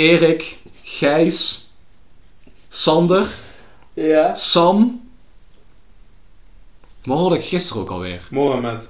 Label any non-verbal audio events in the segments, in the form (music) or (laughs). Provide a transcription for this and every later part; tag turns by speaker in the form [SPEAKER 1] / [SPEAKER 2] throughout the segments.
[SPEAKER 1] Erik, Gijs, Sander,
[SPEAKER 2] Ja.
[SPEAKER 1] Sam. Wat hoorde ik gisteren ook alweer?
[SPEAKER 2] Mohammed.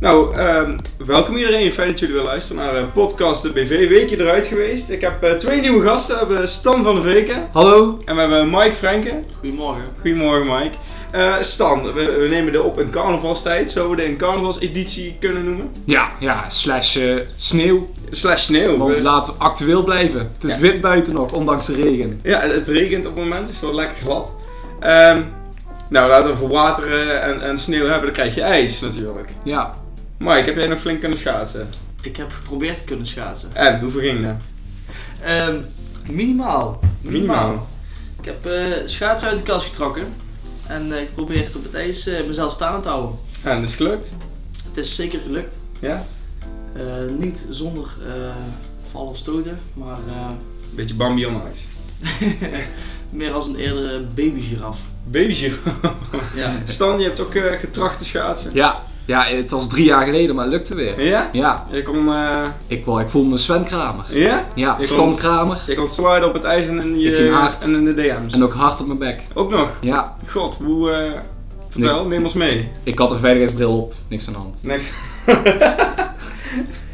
[SPEAKER 2] Nou, ehm, welkom iedereen. Fijn dat jullie weer luisteren naar eh, podcast De BV. Weekje eruit geweest. Ik heb eh, twee nieuwe gasten. We hebben Stan van de Weken
[SPEAKER 1] Hallo?
[SPEAKER 2] en we hebben Mike Franken.
[SPEAKER 3] Goedemorgen.
[SPEAKER 2] Goedemorgen Mike. Eh, Stan, we, we nemen dit op in carnavalstijd. Zouden we dit een carnavalseditie kunnen noemen?
[SPEAKER 1] Ja, ja, slash eh, sneeuw.
[SPEAKER 2] Slash sneeuw.
[SPEAKER 1] Want
[SPEAKER 2] Dus-
[SPEAKER 1] laten we actueel blijven. Het is
[SPEAKER 2] Ja.
[SPEAKER 1] wit buiten nog, ondanks de regen.
[SPEAKER 2] Ja, het- het regent op het moment, dus het wordt lekker glad. Ehm, nou, laten we over water eh, en, en sneeuw hebben, dan krijg je ijs natuurlijk.
[SPEAKER 1] Ja.
[SPEAKER 2] Mike, heb jij nog flink kunnen schaatsen?
[SPEAKER 3] Ik heb geprobeerd te kunnen schaatsen.
[SPEAKER 2] En, hoeveel ging dat?
[SPEAKER 3] Ehm, minimaal.
[SPEAKER 2] Minimaal.
[SPEAKER 3] Ik heb eh schaatsen uit de kast getrokken. En eh, ik probeer het op het ijs eh, mezelf staande te houden.
[SPEAKER 2] En, dat is gelukt.
[SPEAKER 3] Het is zeker gelukt.
[SPEAKER 2] Ja?
[SPEAKER 3] Eh, niet zonder eh vallen of stoten, maar eh,
[SPEAKER 2] Beetje Bambi on ijs.
[SPEAKER 3] (laughs) meer als een eerdere babygiraf.
[SPEAKER 2] Baby
[SPEAKER 3] Ja.
[SPEAKER 2] Stan, je hebt ook eh, getracht te schaatsen.
[SPEAKER 1] Ja. Ja, het was drie jaar geleden, maar het lukte weer.
[SPEAKER 2] Ja?
[SPEAKER 1] Ja,
[SPEAKER 2] Je kon, eh,
[SPEAKER 1] ik, wel, ik voel me Sven Kramer.
[SPEAKER 2] ja?
[SPEAKER 1] Ja,
[SPEAKER 2] Je
[SPEAKER 1] Stan
[SPEAKER 2] kon-
[SPEAKER 1] Kramer.
[SPEAKER 2] Je kon sliden op het ijs en in,
[SPEAKER 1] Ik ging
[SPEAKER 2] je,
[SPEAKER 1] hard.
[SPEAKER 2] en in de DM's.
[SPEAKER 1] En ook hard op mijn bek.
[SPEAKER 2] Ook nog.
[SPEAKER 1] Ja,
[SPEAKER 2] God, hoe... eh, vertel, neem ons mee.
[SPEAKER 1] ik had een veiligheidsbril op. Niks aan de hand.
[SPEAKER 2] Niks. (laughs)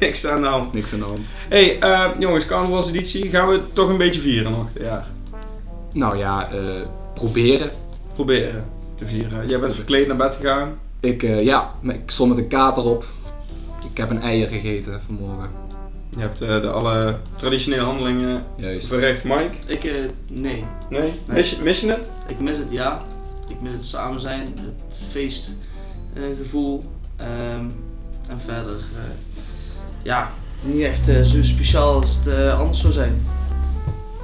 [SPEAKER 2] Niks aan de hand.
[SPEAKER 1] Niks aan de hand.
[SPEAKER 2] Hey, eh, jongens, carnavalseditie gaan we toch een beetje vieren nog. Ja,
[SPEAKER 1] Nou ja, eh, proberen.
[SPEAKER 2] proberen te vieren. Jij bent verkleed naar bed gegaan.
[SPEAKER 1] Ik, eh, ja, maar ik stond met een kater op. Ik heb een eier gegeten vanmorgen.
[SPEAKER 2] Je hebt eh, de alle traditionele handelingen
[SPEAKER 1] Juist.
[SPEAKER 2] verricht, Mike.
[SPEAKER 3] Ik, eh, nee.
[SPEAKER 2] Nee? Mis, je- mis je het?
[SPEAKER 3] Ik mis het, ja. Ik mis het samen zijn, het feestgevoel. ehm, en verder, eh, ja, niet echt eh, zo speciaal als het eh, anders zou zijn.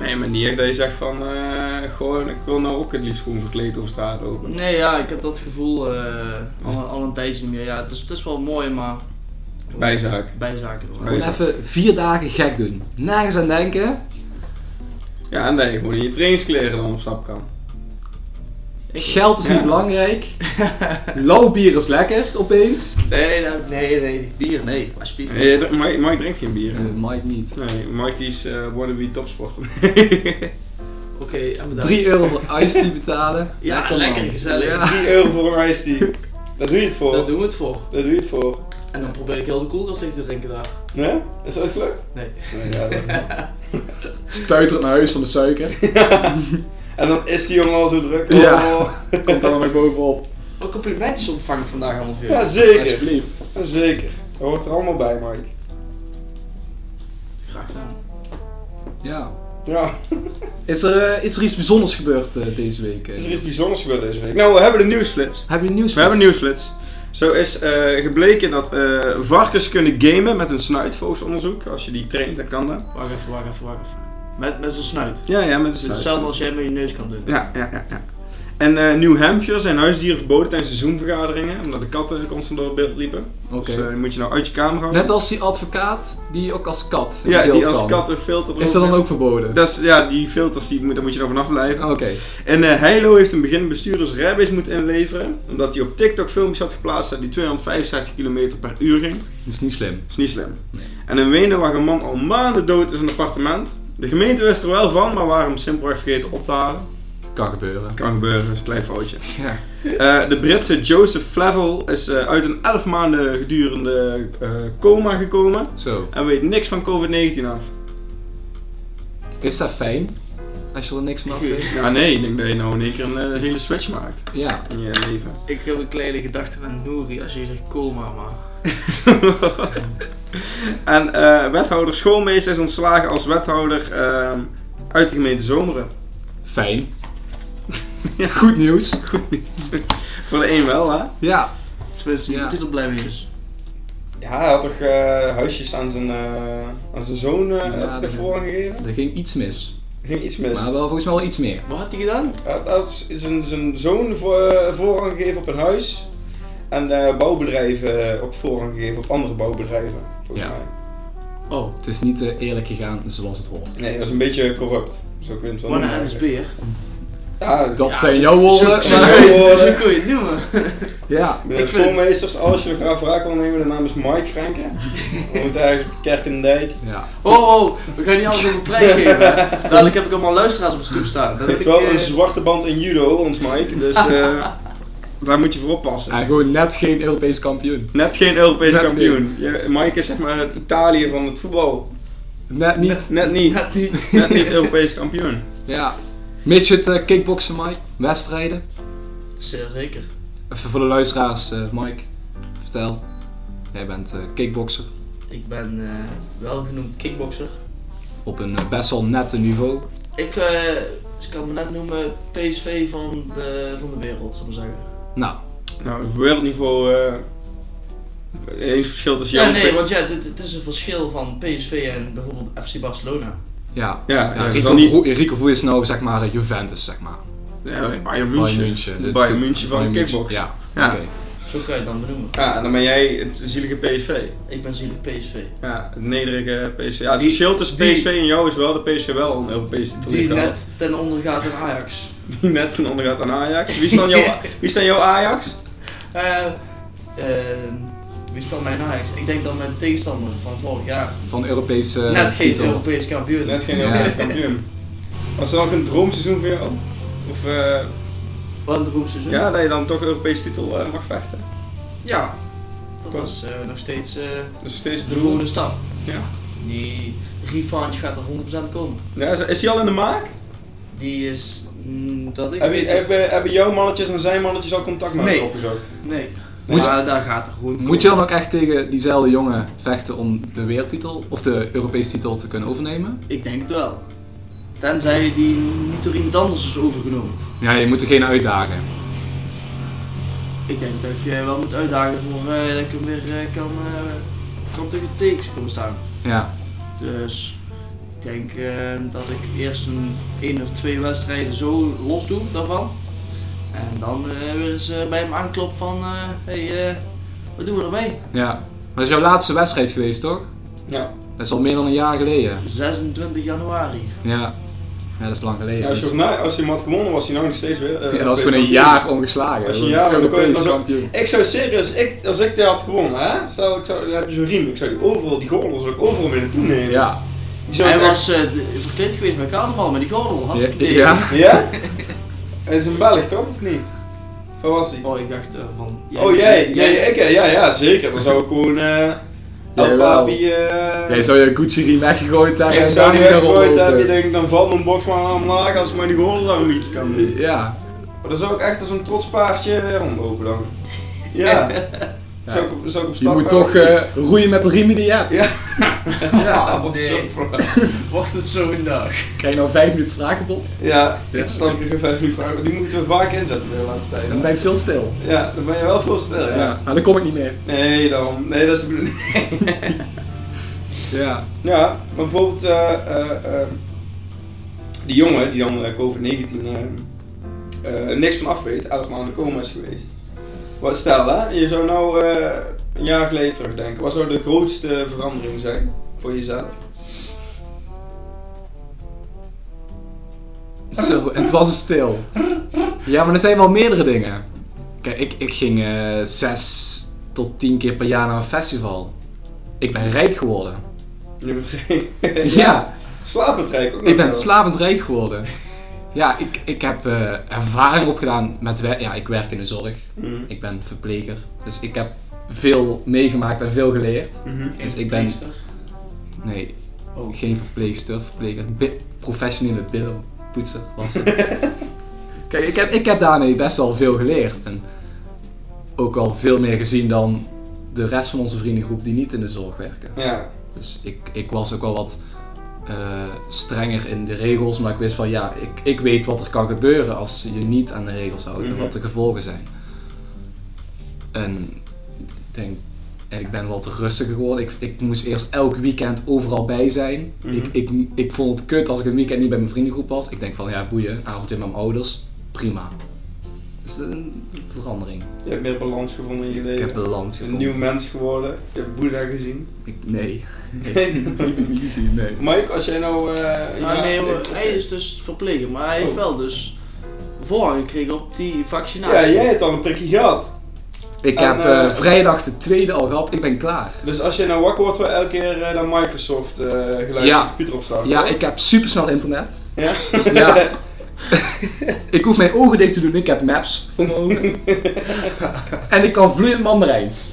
[SPEAKER 2] Nee, maar niet echt dat je zegt van, eh, gewoon, ik wil nou ook het liefst gewoon verkleed over straat lopen.
[SPEAKER 3] Nee, ja, ik heb dat gevoel eh, al, al een tijdje niet meer. Ja, het is, het is wel mooi, maar...
[SPEAKER 2] Bijzaak.
[SPEAKER 3] Bijzaken.
[SPEAKER 2] Bij-
[SPEAKER 1] Gewoon even vier dagen gek doen. Nergens aan denken.
[SPEAKER 2] Ja, en dat je gewoon in je trainingskleren dan op stap kan.
[SPEAKER 3] Ik-
[SPEAKER 1] Geld is
[SPEAKER 2] Ja.
[SPEAKER 1] niet
[SPEAKER 2] (laughs)
[SPEAKER 1] belangrijk. Lauw bier is lekker opeens.
[SPEAKER 3] Nee, nee, nee, nee. Bier, nee. Alsjeblieft.
[SPEAKER 2] Nee, je dr- Mike, Mike drinkt geen bier.
[SPEAKER 1] Eh, Mike niet.
[SPEAKER 2] Nee, Mike die is eh wannabe topsporter. (laughs)
[SPEAKER 3] Oké, en bedankt.
[SPEAKER 1] 3 euro voor iced tea betalen.
[SPEAKER 2] (laughs)
[SPEAKER 3] Ja,
[SPEAKER 1] man.
[SPEAKER 3] lekker, gezellig.
[SPEAKER 2] 3 euro voor een ijstie. Daar doe je het voor.
[SPEAKER 3] Daar doen we het voor.
[SPEAKER 2] Daar doe je het voor.
[SPEAKER 3] En dan probeer ik heel de koelkast leeg te drinken daar.
[SPEAKER 2] Nee? Is dat gelukt?
[SPEAKER 3] Nee.
[SPEAKER 2] Nee, ja, dat-
[SPEAKER 1] Stuiterend naar huis van de
[SPEAKER 2] (laughs)
[SPEAKER 1] suiker.
[SPEAKER 2] En dan is die jongen al zo druk.
[SPEAKER 1] Ja.
[SPEAKER 2] Oh.
[SPEAKER 1] Komt dan nog bovenop.
[SPEAKER 3] Wat complimentjes ontvang ik vandaag allemaal veel.
[SPEAKER 2] Ja, zeker.
[SPEAKER 1] Alsjeblieft.
[SPEAKER 2] Ja, zeker. Dat hoort er allemaal bij, Mike.
[SPEAKER 3] Graag gedaan.
[SPEAKER 1] Ja.
[SPEAKER 2] Ja,
[SPEAKER 1] Is er, eh, is er iets bijzonders gebeurd eh, deze week? eh?
[SPEAKER 2] is er iets bijzonders gebeurd deze week? Nou, we hebben de nieuwsflits.
[SPEAKER 1] Heb je nieuws?
[SPEAKER 2] We hebben een nieuwsflits. Zo is eh, gebleken dat eh, varkens kunnen gamen met een snuitvoosonderzoek. Als je die traint, dan kan dat.
[SPEAKER 3] Wacht even, wacht even, wacht even. Met, met zijn snuit.
[SPEAKER 2] Ja, ja, met een
[SPEAKER 3] Dus
[SPEAKER 2] snuit.
[SPEAKER 3] hetzelfde als jij met je neus kan doen.
[SPEAKER 2] Ja, ja, ja. ja. En eh, New Hampshire zijn huisdieren verboden tijdens seizoenvergaderingen, omdat de katten constant door het beeld liepen.
[SPEAKER 1] Oké.
[SPEAKER 2] Dus eh, die moet je nou uit je kamer houden.
[SPEAKER 1] Net als die advocaat die ook als kat in
[SPEAKER 2] ja,
[SPEAKER 1] beeld
[SPEAKER 2] die als
[SPEAKER 1] kwam.
[SPEAKER 2] katten filter
[SPEAKER 1] Is dat
[SPEAKER 2] erop-
[SPEAKER 1] dan ook verboden? Ah,
[SPEAKER 2] Dat is- ja, die filters, die moet, daar moet je dan vanaf blijven.
[SPEAKER 1] Oké.
[SPEAKER 2] En eh Heilo heeft een begin bestuurders rijbewijs moeten inleveren. Omdat hij op TikTok filmpjes had geplaatst dat hij 265 km per uur ging.
[SPEAKER 1] Dat is niet slim.
[SPEAKER 2] Dat is niet slim. En in Wenen lag een man al maanden dood in zijn appartement. De gemeente wist er wel van, maar waren hem simpelweg vergeten op te halen.
[SPEAKER 1] Kan gebeuren.
[SPEAKER 2] Kan gebeuren, dat is een klein foutje.
[SPEAKER 1] Ja.
[SPEAKER 2] Eh, de Britse Joseph Flavel is eh, uit een 11 maanden gedurende eh, coma gekomen.
[SPEAKER 1] Zo.
[SPEAKER 2] En weet niks van COVID-19 af.
[SPEAKER 1] Is dat fijn? Als je er niks mag weet.
[SPEAKER 2] Ja, nee, ik denk dat je nou in één keer een eh, hele switch maakt
[SPEAKER 1] Ja.
[SPEAKER 2] in je leven. (laughs)
[SPEAKER 3] Ik heb een kleine gedachte aan Nouri als je zegt coma, maar...
[SPEAKER 2] en eh, wethouder Schoolmeester is ontslagen als wethouder ehm, uit de gemeente Zomeren.
[SPEAKER 1] Fijn.
[SPEAKER 2] Ja.
[SPEAKER 1] (laughs) Goed nieuws.
[SPEAKER 2] Voor de een wel, hè?
[SPEAKER 1] Ja.
[SPEAKER 3] Tenminste,
[SPEAKER 1] Ja.
[SPEAKER 3] ja. dit blij mee dus. is.
[SPEAKER 2] Ja, hij had toch eh, huisjes aan zijn, eh, aan zijn zoon eh,
[SPEAKER 1] Ja,
[SPEAKER 2] had hij
[SPEAKER 1] dat-
[SPEAKER 2] ervoor aangegeven?
[SPEAKER 1] Er ging iets mis.
[SPEAKER 2] Er ging iets mis.
[SPEAKER 1] Maar wel volgens mij wel iets meer.
[SPEAKER 3] Wat had hij gedaan?
[SPEAKER 2] Hij had, hij had z- zijn, zijn zoon voor, eh, voorrang gegeven op een huis. aan eh, bouwbedrijven eh, ook voorrang gegeven, op andere bouwbedrijven, volgens
[SPEAKER 1] Ja.
[SPEAKER 2] mij.
[SPEAKER 3] Oh,
[SPEAKER 1] Het is niet eh, eerlijk gegaan zoals het hoort.
[SPEAKER 2] Nee, dat is een beetje corrupt. Zo kun je het wel
[SPEAKER 3] mannen
[SPEAKER 2] noemen
[SPEAKER 3] en
[SPEAKER 2] eigenlijk.
[SPEAKER 3] speer.
[SPEAKER 2] Ja,
[SPEAKER 1] Dat
[SPEAKER 3] Ja,
[SPEAKER 1] zijn
[SPEAKER 3] zo-
[SPEAKER 1] jouw woorden.
[SPEAKER 2] Zoek-
[SPEAKER 3] Zo, zo,
[SPEAKER 1] maar-
[SPEAKER 2] zoek-
[SPEAKER 3] kun je- zo kun je het noemen.
[SPEAKER 1] Ja.
[SPEAKER 2] De
[SPEAKER 3] Ik vind-
[SPEAKER 2] schoolmeesters, als je graag wraak wil nemen, de naam is Mike Franken. We moeten eigenlijk op Kerkendijk.
[SPEAKER 1] ja.
[SPEAKER 3] Oh, oh, we gaan niet alles over prijs geven. Dadelijk heb ik allemaal luisteraars op de stoep staan. Dat
[SPEAKER 2] Hij
[SPEAKER 3] weet
[SPEAKER 2] heeft
[SPEAKER 3] ik,
[SPEAKER 2] wel
[SPEAKER 3] eh,
[SPEAKER 2] een zwarte band in judo, ons Mike, dus eh, daar moet je voor oppassen.
[SPEAKER 1] En gewoon net geen Europees kampioen.
[SPEAKER 2] Net geen Europees
[SPEAKER 1] Net
[SPEAKER 2] kampioen. Je- Mike is zeg maar het Italië van het voetbal.
[SPEAKER 1] Net niet.
[SPEAKER 2] Net niet.
[SPEAKER 3] net niet.
[SPEAKER 2] Net niet Europees kampioen.
[SPEAKER 1] Ja. Mis je het eh, kickboksen, Mike? Wedstrijden?
[SPEAKER 3] Zeer Zeker.
[SPEAKER 1] Even voor de luisteraars, eh, Mike. Vertel. Jij bent eh kickbokser.
[SPEAKER 3] Ik ben eh, wel genoemd kickboxer.
[SPEAKER 1] Op een eh, best wel nette niveau.
[SPEAKER 3] Ik eh, ik kan me net noemen PSV van de, van de wereld, zal ik maar zeggen.
[SPEAKER 1] Nou,
[SPEAKER 2] Nou, op wereldniveau. eh eens verschil tussen jou
[SPEAKER 3] Ja,
[SPEAKER 2] en
[SPEAKER 3] nee,
[SPEAKER 2] Pe-
[SPEAKER 3] want ja, dit, het is een verschil van PSV en bijvoorbeeld FC Barcelona.
[SPEAKER 1] ja.
[SPEAKER 2] Ja,
[SPEAKER 1] Ja,
[SPEAKER 2] ja,
[SPEAKER 1] Rico,
[SPEAKER 2] dan niet.
[SPEAKER 1] Verhoe- Rico Verhoeven is nou zeg maar eh, Juventus, zeg maar.
[SPEAKER 2] Ja, Bayern
[SPEAKER 1] Bayern
[SPEAKER 2] München.
[SPEAKER 1] München.
[SPEAKER 2] De
[SPEAKER 1] De-
[SPEAKER 2] Bayern
[SPEAKER 1] de-
[SPEAKER 2] München van
[SPEAKER 1] Bayern München.
[SPEAKER 2] kickbox. Ja.
[SPEAKER 1] Ja,
[SPEAKER 2] Ja.
[SPEAKER 1] oké.
[SPEAKER 3] Zo kan je het dan benoemen.
[SPEAKER 2] en dan ben jij het zielige PSV.
[SPEAKER 3] Ik ben zielig PSV.
[SPEAKER 2] Ja, het nederige PSV. Ja, het
[SPEAKER 3] Die-
[SPEAKER 2] verschil tussen
[SPEAKER 3] die-
[SPEAKER 2] PSV en jou is wel dat PSV wel een Europese titel
[SPEAKER 3] Die
[SPEAKER 2] heeft
[SPEAKER 3] net ten onder gaat in Ajax.
[SPEAKER 2] gehaald. Die net een ondergaat aan Ajax. Wie is dan (laughs) jouw, wie is dan jouw Ajax?
[SPEAKER 3] Eh, eh, wie is dan mijn Ajax? Ik denk dan mijn tegenstander van vorig jaar.
[SPEAKER 1] Van Europese eh,
[SPEAKER 3] net geen
[SPEAKER 1] titel.
[SPEAKER 3] Europees kampioen.
[SPEAKER 2] Net geen
[SPEAKER 1] Ja.
[SPEAKER 2] Europees kampioen. Was er ook een droomseizoen voor jou? Of eh,
[SPEAKER 3] Wat een beroepsseizoen.
[SPEAKER 2] ja, dat je dan toch een Europese titel eh, mag vechten?
[SPEAKER 3] Ja. Dat was eh, nog steeds eh,
[SPEAKER 2] Dus steeds het
[SPEAKER 3] de
[SPEAKER 2] doel.
[SPEAKER 3] volgende stap.
[SPEAKER 2] Ja.
[SPEAKER 3] Die revanche gaat er 100% komen.
[SPEAKER 2] Ja, is, is die al in de maak?
[SPEAKER 3] Die is mm, dat ik
[SPEAKER 2] Hebben,
[SPEAKER 3] weet.
[SPEAKER 2] hebben, hebben jouw mannetjes en zijn mannetjes al contact met
[SPEAKER 3] Nee.
[SPEAKER 2] elkaar opgezocht?
[SPEAKER 3] Nee.
[SPEAKER 1] Moet
[SPEAKER 3] maar daar gaat er gewoon.
[SPEAKER 1] Moet je dan ook echt tegen diezelfde jongen vechten om de wereldtitel of de Europese titel te kunnen overnemen?
[SPEAKER 3] Ik denk het wel. Tenzij die niet door iemand anders is overgenomen.
[SPEAKER 1] Ja, je moet er geen uitdagen.
[SPEAKER 3] Ik denk dat ik eh, wel moet uitdagen voor eh, dat ik hem weer eh, kan, eh, kan tegen de tekens komen staan.
[SPEAKER 1] Ja,
[SPEAKER 3] Dus ik denk eh, dat ik eerst een één of twee wedstrijden zo los doe daarvan. En dan eh, weer eens eh, bij hem aanklop van, eh, hey, eh, wat doen we ermee?
[SPEAKER 1] ja. Maar dat is jouw laatste wedstrijd geweest, toch?
[SPEAKER 2] Ja.
[SPEAKER 1] Dat is al meer dan een jaar geleden.
[SPEAKER 3] 26 januari.
[SPEAKER 1] Ja, ja dat is lang geleden.
[SPEAKER 2] Ja, als, je,
[SPEAKER 1] Dus-
[SPEAKER 2] volgens mij- als je hem had gewonnen, was hij nou nog steeds weer. eh,
[SPEAKER 1] Ja, dat
[SPEAKER 2] Europees
[SPEAKER 1] was gewoon een
[SPEAKER 2] kampioen.
[SPEAKER 1] jaar ongeslagen.
[SPEAKER 2] Als je een jaar-
[SPEAKER 1] Europees
[SPEAKER 2] als je-
[SPEAKER 1] kampioen.
[SPEAKER 2] Ik zou serieus, ik, als ik die had gewonnen, hè? Stel, ik zou, dan heb je zo'n riem, ik zou die overal, die gordel zou ik overal willen toenemen.
[SPEAKER 1] Ja.
[SPEAKER 2] Die zou
[SPEAKER 3] Hij
[SPEAKER 2] ik echt-
[SPEAKER 3] was eh, de- verkleed geweest bij carnaval met die gordel. Had
[SPEAKER 1] Ja,
[SPEAKER 3] ik
[SPEAKER 1] ja.
[SPEAKER 2] Ja? (laughs) Het is een Belg toch, of niet? Waar was hij?
[SPEAKER 3] Oh, ik dacht eh, van...
[SPEAKER 2] Oh jij, jij, ik, eh, ja, ja, zeker. Dan zou ik gewoon eh El
[SPEAKER 1] Jawel.
[SPEAKER 2] Papi, eh,
[SPEAKER 1] Jij zou je Gucci riem weggegooid hebben eh.
[SPEAKER 2] ik
[SPEAKER 1] en
[SPEAKER 2] zou
[SPEAKER 1] daar
[SPEAKER 2] die
[SPEAKER 1] niet meer
[SPEAKER 2] weggegooid hebben, je
[SPEAKER 1] oplopen.
[SPEAKER 2] denkt, dan valt mijn box maar omlaag als ik maar die gordel daar een beetje kan doen.
[SPEAKER 1] Ja.
[SPEAKER 2] Maar dan zou ik echt als een trots paardje eh, rondlopen
[SPEAKER 1] (laughs)
[SPEAKER 2] dan. Ja. Zou ik, op- zou ik op
[SPEAKER 1] Je
[SPEAKER 2] stap
[SPEAKER 1] moet
[SPEAKER 2] gaan?
[SPEAKER 1] toch eh, roeien met de riemen die je hebt. (laughs)
[SPEAKER 2] Ja.
[SPEAKER 3] Ja,
[SPEAKER 2] Ah, wat
[SPEAKER 3] nee.
[SPEAKER 2] zo voor-
[SPEAKER 3] Wordt het zo een dag?
[SPEAKER 1] Krijg je nou vijf minuten spraakbod?
[SPEAKER 2] Ja, ik snap je vijf minuten vragen. Die moeten we vaak inzetten de laatste tijd.
[SPEAKER 1] Dan ben je veel stil.
[SPEAKER 2] Ja, dan ben je wel veel stil. Ja.
[SPEAKER 1] Nou, dan kom ik niet meer.
[SPEAKER 2] Nee, dan. Nee, dat is de bedoeling.
[SPEAKER 1] Ja.
[SPEAKER 2] Ja, maar bijvoorbeeld eh, eh, eh, die jongen die dan eh, COVID-19 eh, eh, niks van af weet, 11 maanden coma is geweest. Wat stel hè, je zou nou eh, een jaar geleden terugdenken, wat zou de grootste verandering zijn voor jezelf?
[SPEAKER 1] Zo, en het was een stil. Ja, maar er zijn wel meerdere dingen. Kijk, ik, ik ging eh zes tot tien keer per jaar naar een festival. Ik ben rijk geworden.
[SPEAKER 2] Je bent geen.
[SPEAKER 1] (laughs) Ja,
[SPEAKER 2] Slapend rijk ook nog
[SPEAKER 1] ik ben
[SPEAKER 2] zo.
[SPEAKER 1] slapend rijk geworden. Ja, ik, ik heb eh, ervaring opgedaan met werk. Ja, ik werk in de zorg.
[SPEAKER 2] Mhm.
[SPEAKER 1] Ik ben verpleger. Dus ik heb veel meegemaakt en veel geleerd.
[SPEAKER 2] Mhm.
[SPEAKER 1] Dus ik ben... Nee,
[SPEAKER 3] Oh.
[SPEAKER 1] Geen verpleegster, verpleger, bi- professionele billenpoetser was het. Kijk, ik heb, ik heb daarmee best wel veel geleerd. En ook al veel meer gezien dan de rest van onze vriendengroep die niet in de zorg werken.
[SPEAKER 2] Ja,
[SPEAKER 1] Dus ik, ik was ook al wat eh, strenger in de regels, maar ik wist van ja, ik, ik weet wat er kan gebeuren als je niet aan de regels houdt
[SPEAKER 2] Mhm.
[SPEAKER 1] en wat de gevolgen zijn. En ik denk, en ik ben wat rustiger geworden. Ik, ik moest eerst elk weekend overal bij zijn.
[SPEAKER 2] Mhm.
[SPEAKER 1] ik, ik, ik vond het kut als ik een weekend niet bij mijn vriendengroep was. Ik denk van ja, boeien, een avondje met mijn ouders, prima. Is dat een verandering?
[SPEAKER 2] Je hebt meer balans gevonden in je
[SPEAKER 1] Ik
[SPEAKER 2] leven.
[SPEAKER 1] heb balans
[SPEAKER 2] een
[SPEAKER 1] gevonden.
[SPEAKER 2] nieuw mens geworden. Je hebt Boeddha gezien. (laughs)
[SPEAKER 1] Ik- nee. Nee. Niet gezien, nee.
[SPEAKER 2] Mike, als jij nou... eh
[SPEAKER 3] Nou,
[SPEAKER 2] ja,
[SPEAKER 3] nee,
[SPEAKER 2] ik-
[SPEAKER 3] hoor, hij is dus verpleger, maar hij heeft
[SPEAKER 2] Oh.
[SPEAKER 3] wel dus voorrang gekregen op die
[SPEAKER 2] Ja,
[SPEAKER 3] vaccinatie.
[SPEAKER 2] jij hebt al een prikje gehad.
[SPEAKER 1] Ik
[SPEAKER 2] En,
[SPEAKER 1] heb
[SPEAKER 2] eh,
[SPEAKER 1] eh, vrijdag de tweede al gehad. Ik ben klaar.
[SPEAKER 2] Dus als jij nou wakker wordt, wil je elke keer eh, naar Microsoft eh geluid
[SPEAKER 1] Ja.
[SPEAKER 2] de computer opstaan.
[SPEAKER 1] Ja,
[SPEAKER 2] toch?
[SPEAKER 1] ik heb supersnel
[SPEAKER 2] (laughs)
[SPEAKER 1] internet.
[SPEAKER 2] Ja?
[SPEAKER 1] Ja. (laughs) ik hoef mijn ogen dicht te doen. Ik heb maps voor mijn
[SPEAKER 2] (laughs)
[SPEAKER 1] ogen. en ik kan vloeiend Mandarijns.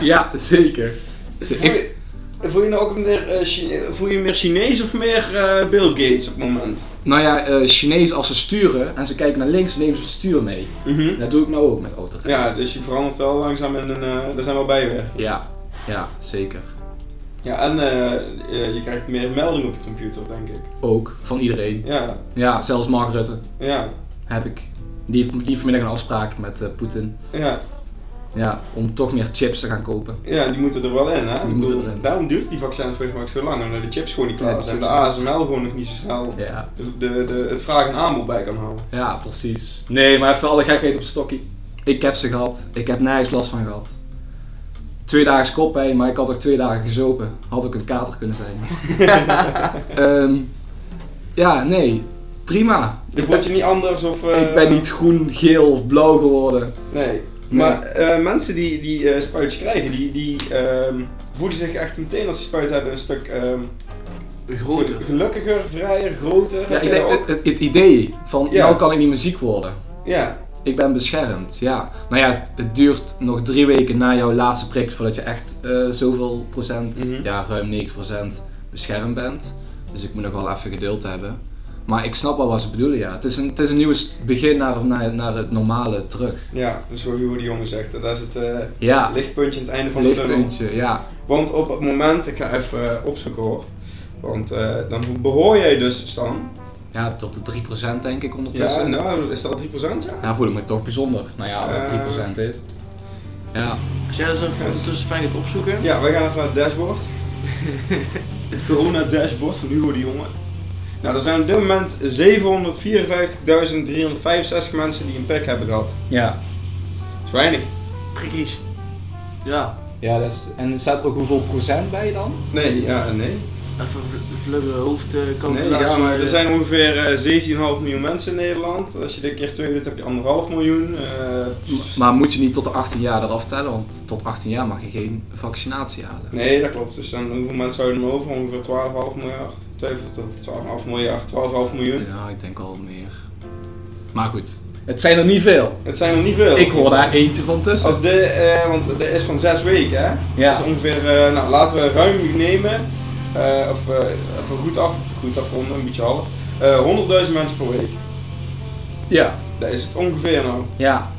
[SPEAKER 1] ja, zeker. Ze-
[SPEAKER 2] Voel
[SPEAKER 1] ik-
[SPEAKER 2] je, voel je nou ook meer, eh, Chine- voel je meer Chinees of meer eh, Bill Gates op het moment?
[SPEAKER 1] nou ja, eh, Chinees als ze sturen en ze kijken naar links, nemen ze het stuur mee. Dat doe ik nou ook met autorijden.
[SPEAKER 2] Ja, dus je verandert wel langzaam in een... eh, daar zijn wel bij weer.
[SPEAKER 1] Ja, ja, zeker.
[SPEAKER 2] Ja, en eh, eh, je krijgt meer meldingen op je computer, denk ik.
[SPEAKER 1] Ook van iedereen.
[SPEAKER 2] Ja,
[SPEAKER 1] Ja, zelfs Mark Rutte
[SPEAKER 2] ja,
[SPEAKER 1] heb ik. Die heeft, die heeft vanmiddag een afspraak met eh, Poetin.
[SPEAKER 2] ja.
[SPEAKER 1] Ja, om toch meer chips te gaan kopen.
[SPEAKER 2] Ja, die moeten er wel in, hè?
[SPEAKER 1] Die
[SPEAKER 2] Ik
[SPEAKER 1] moeten
[SPEAKER 2] bedoel,
[SPEAKER 1] erin.
[SPEAKER 2] Daarom duurt die vaccinvraag ook zo lang, omdat de chips gewoon niet
[SPEAKER 1] Ja,
[SPEAKER 2] klaar
[SPEAKER 1] de
[SPEAKER 2] zijn. De
[SPEAKER 1] chips
[SPEAKER 2] ASML gewoon nog niet zo snel
[SPEAKER 1] Ja,
[SPEAKER 2] de, de, de, het vraag en aanbod bij kan houden.
[SPEAKER 1] ja precies. Nee, maar even alle gekheid op stokkie. Ik heb ze gehad. Ik heb nergens last van gehad. Twee dagen koppijn, maar ik had ook twee dagen gezopen. Had ook een kater kunnen zijn. Ehm, ja, nee. Prima.
[SPEAKER 2] Je voelt je niet anders of... eh,
[SPEAKER 1] Ik ben niet groen, geel of blauw geworden.
[SPEAKER 2] Nee. Maar eh, mensen die, die eh, spuitjes krijgen, die, die ehm, voelen zich echt meteen als ze spuit hebben een stuk ehm,
[SPEAKER 3] De grote.
[SPEAKER 2] gelukkiger, vrijer, groter.
[SPEAKER 1] Ja,
[SPEAKER 2] Had
[SPEAKER 1] ik
[SPEAKER 2] jij
[SPEAKER 1] denk,
[SPEAKER 2] dat ook?
[SPEAKER 1] het, het- het idee van,
[SPEAKER 2] Ja.
[SPEAKER 1] nou kan ik niet meer ziek worden.
[SPEAKER 2] Ja,
[SPEAKER 1] Ik ben beschermd, ja. Nou ja, het- het duurt nog drie weken na jouw laatste prik voordat je echt eh, zoveel procent,
[SPEAKER 2] Mhm.
[SPEAKER 1] ja, ruim 90 procent beschermd bent. Dus ik moet nog wel even geduld hebben. Maar ik snap wel wat ze bedoelen, ja. Het is een, het is een nieuw s- begin naar, naar, naar het normale terug.
[SPEAKER 2] ja, dus hoe hoe die jongen zegt, dat is het eh,
[SPEAKER 1] Ja,
[SPEAKER 2] lichtpuntje aan het einde van de tunnel.
[SPEAKER 1] lichtpuntje, ja.
[SPEAKER 2] Want op het moment, ik ga even eh, opzoeken hoor. Want eh, dan behoor jij dus, Stan.
[SPEAKER 1] Ja, tot de 3 procent denk ik
[SPEAKER 2] Ja,
[SPEAKER 1] ondertussen. Ja,
[SPEAKER 2] nou, is dat 3% ja?
[SPEAKER 1] voel ik me toch bijzonder. Nou ja, als het
[SPEAKER 2] Eh.
[SPEAKER 1] 3 procent is. Ja,
[SPEAKER 3] Als jij dus even ondertussen fijn gaat opzoeken.
[SPEAKER 2] Ja, wij gaan even naar het dashboard. het corona dashboard van Hugo de Jonge. Nou, er zijn op dit moment 754.365 mensen die een prik hebben gehad.
[SPEAKER 1] ja.
[SPEAKER 2] Dat is weinig.
[SPEAKER 3] Prikkies. Ja,
[SPEAKER 1] Ja, dat is, en staat er ook hoeveel procent bij dan?
[SPEAKER 2] Nee, ja, nee.
[SPEAKER 3] even vl- vlugge
[SPEAKER 2] nee
[SPEAKER 3] hoofdcalculatie.
[SPEAKER 2] ja, maar er
[SPEAKER 3] eh,
[SPEAKER 2] zijn ongeveer eh, 17,5 miljoen mensen in Nederland. Als je dit keer twee doet, heb je anderhalf miljoen. Eh,
[SPEAKER 1] Maar moet je niet tot de 18 jaar eraf tellen, want tot 18 jaar mag je geen vaccinatie halen.
[SPEAKER 2] nee, dat klopt. Dus dan hoeveel mensen zouden er over? Ongeveer 12,5 miljard. 12,5 miljard, 12,5 miljoen.
[SPEAKER 1] Ja, ik denk al meer. Maar goed, het zijn er niet veel.
[SPEAKER 2] Het zijn er niet veel.
[SPEAKER 1] Ik hoor daar eentje van tussen.
[SPEAKER 2] Als de, eh, want dat is van zes weken, hè?
[SPEAKER 1] Ja.
[SPEAKER 2] Dus ongeveer, eh, nou laten we ruim nemen, eh, of eh, even goed af, goed afronden, een beetje half. Eh 100.000 mensen per week.
[SPEAKER 1] Ja,
[SPEAKER 2] Dat is het ongeveer nou.
[SPEAKER 1] ja.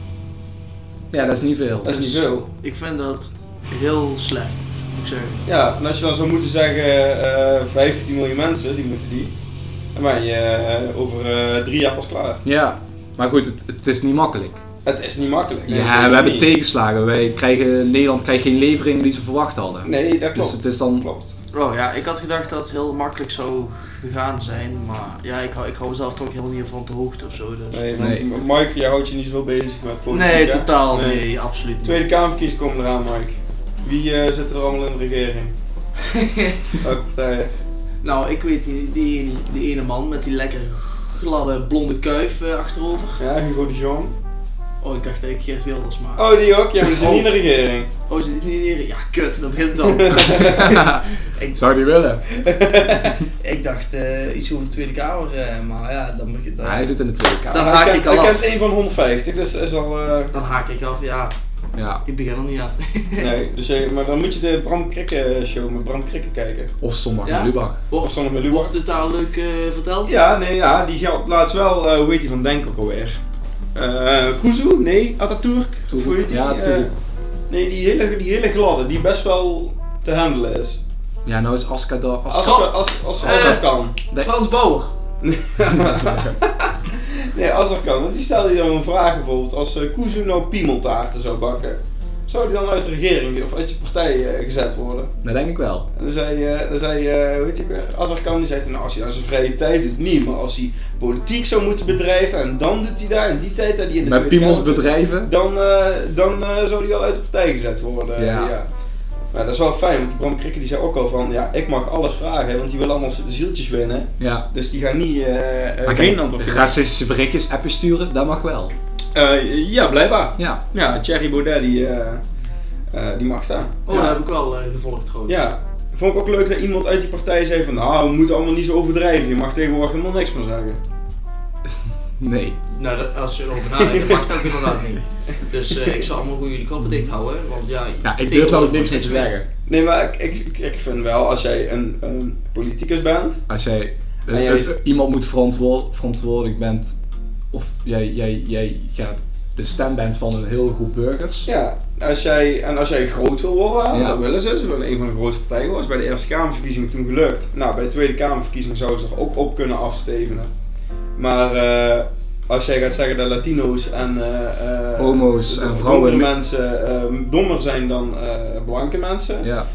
[SPEAKER 1] Ja, dat is niet veel. Dus-
[SPEAKER 2] Dat is niet veel.
[SPEAKER 3] Ik vind dat heel slecht, moet ik zeggen.
[SPEAKER 2] Ja, en als je dan zou moeten zeggen, eh 15 miljoen mensen, die moeten die. Dan ben je eh, over eh, drie jaar pas klaar.
[SPEAKER 1] Ja, maar goed, het, het is niet makkelijk.
[SPEAKER 2] Het is niet makkelijk. Nee,
[SPEAKER 1] Ja,
[SPEAKER 2] dat
[SPEAKER 1] we hebben
[SPEAKER 2] niet.
[SPEAKER 1] tegenslagen. Wij krijgen, Nederland krijgt geen leveringen die ze verwacht hadden.
[SPEAKER 2] Nee, dat
[SPEAKER 1] Dus
[SPEAKER 2] klopt.
[SPEAKER 1] het is
[SPEAKER 2] (laughs)
[SPEAKER 1] dan...
[SPEAKER 2] Klopt.
[SPEAKER 3] Oh ja, ik had gedacht dat het heel makkelijk zou gegaan zijn, maar ja, ik, hou- ik hou mezelf toch helemaal niet van op de hoogte of zo. Dus.
[SPEAKER 2] Nee,
[SPEAKER 1] Nee.
[SPEAKER 2] want Mike, jij houdt je niet zo bezig met politiek,
[SPEAKER 3] Nee,
[SPEAKER 2] hè?
[SPEAKER 3] totaal nee, absoluut niet.
[SPEAKER 2] Tweede Kamerverkiezingen komen eraan, Mike. Wie eh, zit er allemaal in de regering?
[SPEAKER 3] (laughs)
[SPEAKER 2] Welke partijen?
[SPEAKER 3] Nou, ik weet die, die, die ene man met die lekker gladde blonde kuif eh, achterover.
[SPEAKER 2] Ja, Hugo de Jong.
[SPEAKER 3] Oh, ik dacht dat ik Geert Wilders maar.
[SPEAKER 2] Oh, die ook? Ja, maar die zit
[SPEAKER 3] Oh.
[SPEAKER 2] niet in de regering.
[SPEAKER 3] Oh, zit die niet hier? Ja, kut, dat begint dan.
[SPEAKER 1] (laughs) Zou die willen?
[SPEAKER 3] (laughs) ik dacht eh, iets over de Tweede Kamer, eh, maar ja, dan begint dan.
[SPEAKER 1] hij zit in de Tweede Kamer.
[SPEAKER 3] Dan
[SPEAKER 2] Maar
[SPEAKER 3] haak
[SPEAKER 2] hij
[SPEAKER 3] ik
[SPEAKER 2] kent-
[SPEAKER 3] al
[SPEAKER 2] Hij
[SPEAKER 3] af.
[SPEAKER 2] kent één van 150, dus dat is al...
[SPEAKER 3] (laughs)
[SPEAKER 2] eh,
[SPEAKER 3] Dan haak ik af, ja,
[SPEAKER 1] Ja.
[SPEAKER 3] ik begin er niet aan. (laughs)
[SPEAKER 2] nee, dus, eh, maar dan moet je de Bram Krikke show met Bram Krikke kijken.
[SPEAKER 1] Of sommige
[SPEAKER 3] Ja?
[SPEAKER 1] Lubach.
[SPEAKER 2] Of
[SPEAKER 3] Wordt,
[SPEAKER 2] soms met Lubach.
[SPEAKER 3] wordt het daar leuk eh, verteld?
[SPEAKER 2] Ja, nee, ja, die geldt laatst wel, eh, hoe heet die van Denk ook alweer? Eh Kuzu? Nee, Atatürk?
[SPEAKER 1] Tugu.
[SPEAKER 2] Hoe heet die?
[SPEAKER 1] Ja, Tugu.
[SPEAKER 2] Eh, nee, die hele, die hele gladde, die best wel te handelen is.
[SPEAKER 1] Ja, nou is Aska daar... Aska-
[SPEAKER 2] Als, als, als, als, als
[SPEAKER 3] Eh.
[SPEAKER 2] dat kan.
[SPEAKER 1] Nee.
[SPEAKER 3] Frans Bauer.
[SPEAKER 2] Nee, als dat kan. Want die stelde je dan een vraag bijvoorbeeld. Als eh Kuzu nou piemeltaarten zou bakken, Zou die dan uit de regering of uit je partij eh, gezet worden?
[SPEAKER 1] Dat denk ik wel.
[SPEAKER 2] En dan zei, eh dan zei eh, hoe heet je ook weer, Azarkan, die zei toen, nou, als hij aan zijn vrije tijd doet, niet. Maar als hij politiek zou moeten bedrijven en dan doet hij daar, in die tijd dat hij in de
[SPEAKER 1] Met
[SPEAKER 2] Tweede
[SPEAKER 1] piemels
[SPEAKER 2] Kamer zit,
[SPEAKER 1] bedrijven.
[SPEAKER 2] Dan, eh, dan eh, zou hij wel uit de partij gezet worden. eh,
[SPEAKER 1] Ja.
[SPEAKER 2] Ja. Maar dat is wel fijn, want die Bram Krikke die zei ook al van, ja, ik mag alles vragen, want die wil allemaal zieltjes winnen.
[SPEAKER 1] Ja.
[SPEAKER 2] Dus die gaan niet eh eh,
[SPEAKER 1] Maar
[SPEAKER 2] geen
[SPEAKER 1] kijk,
[SPEAKER 2] antwoord geven.
[SPEAKER 1] racistische berichtjes, appen sturen, dat mag wel.
[SPEAKER 2] Eh, ja, blijkbaar.
[SPEAKER 1] Ja.
[SPEAKER 2] Ja, Thierry Baudet die, eh, eh, die mag staan.
[SPEAKER 3] Oh,
[SPEAKER 1] Ja.
[SPEAKER 3] dat heb ik wel eh, gevolgd trouwens.
[SPEAKER 2] Ja, vond ik ook leuk dat iemand uit die partij zei van nou, we moeten allemaal niet zo overdrijven, je mag tegenwoordig helemaal niks meer zeggen.
[SPEAKER 1] Nee.
[SPEAKER 3] Nou, dat- als je erover nadenkt, dat mag dat ook inderdaad (laughs) niet. Dus eh, ik zal allemaal goed jullie koppen dicht houden, want ja...
[SPEAKER 1] Ja, ik durf
[SPEAKER 3] tegenwoordig
[SPEAKER 1] nou ook
[SPEAKER 3] wordt
[SPEAKER 1] niks meer te
[SPEAKER 3] gezegd.
[SPEAKER 1] zeggen.
[SPEAKER 2] Nee, maar ik, ik, ik vind wel, als jij een, een politicus bent,
[SPEAKER 1] Als jij eh,
[SPEAKER 2] En jij-
[SPEAKER 1] eh, eh, iemand moet verantwoor- verantwoordelijk bent, of jij, jij, jij gaat de stem bent van een heel groep burgers.
[SPEAKER 2] ja, als jij, en als jij groot wil worden, want
[SPEAKER 1] Ja.
[SPEAKER 2] dat willen ze, ze willen een van de grootste partijen worden, is bij de Eerste Kamerverkiezing toen gelukt. Nou, bij de Tweede Kamerverkiezing zouden ze er ook op kunnen afstevenen. Maar eh, als jij gaat zeggen dat Latino's en eh, eh,
[SPEAKER 1] Homo's en vrouwen-
[SPEAKER 2] donkere mensen eh, dommer zijn dan eh, blanke mensen,
[SPEAKER 1] Ja.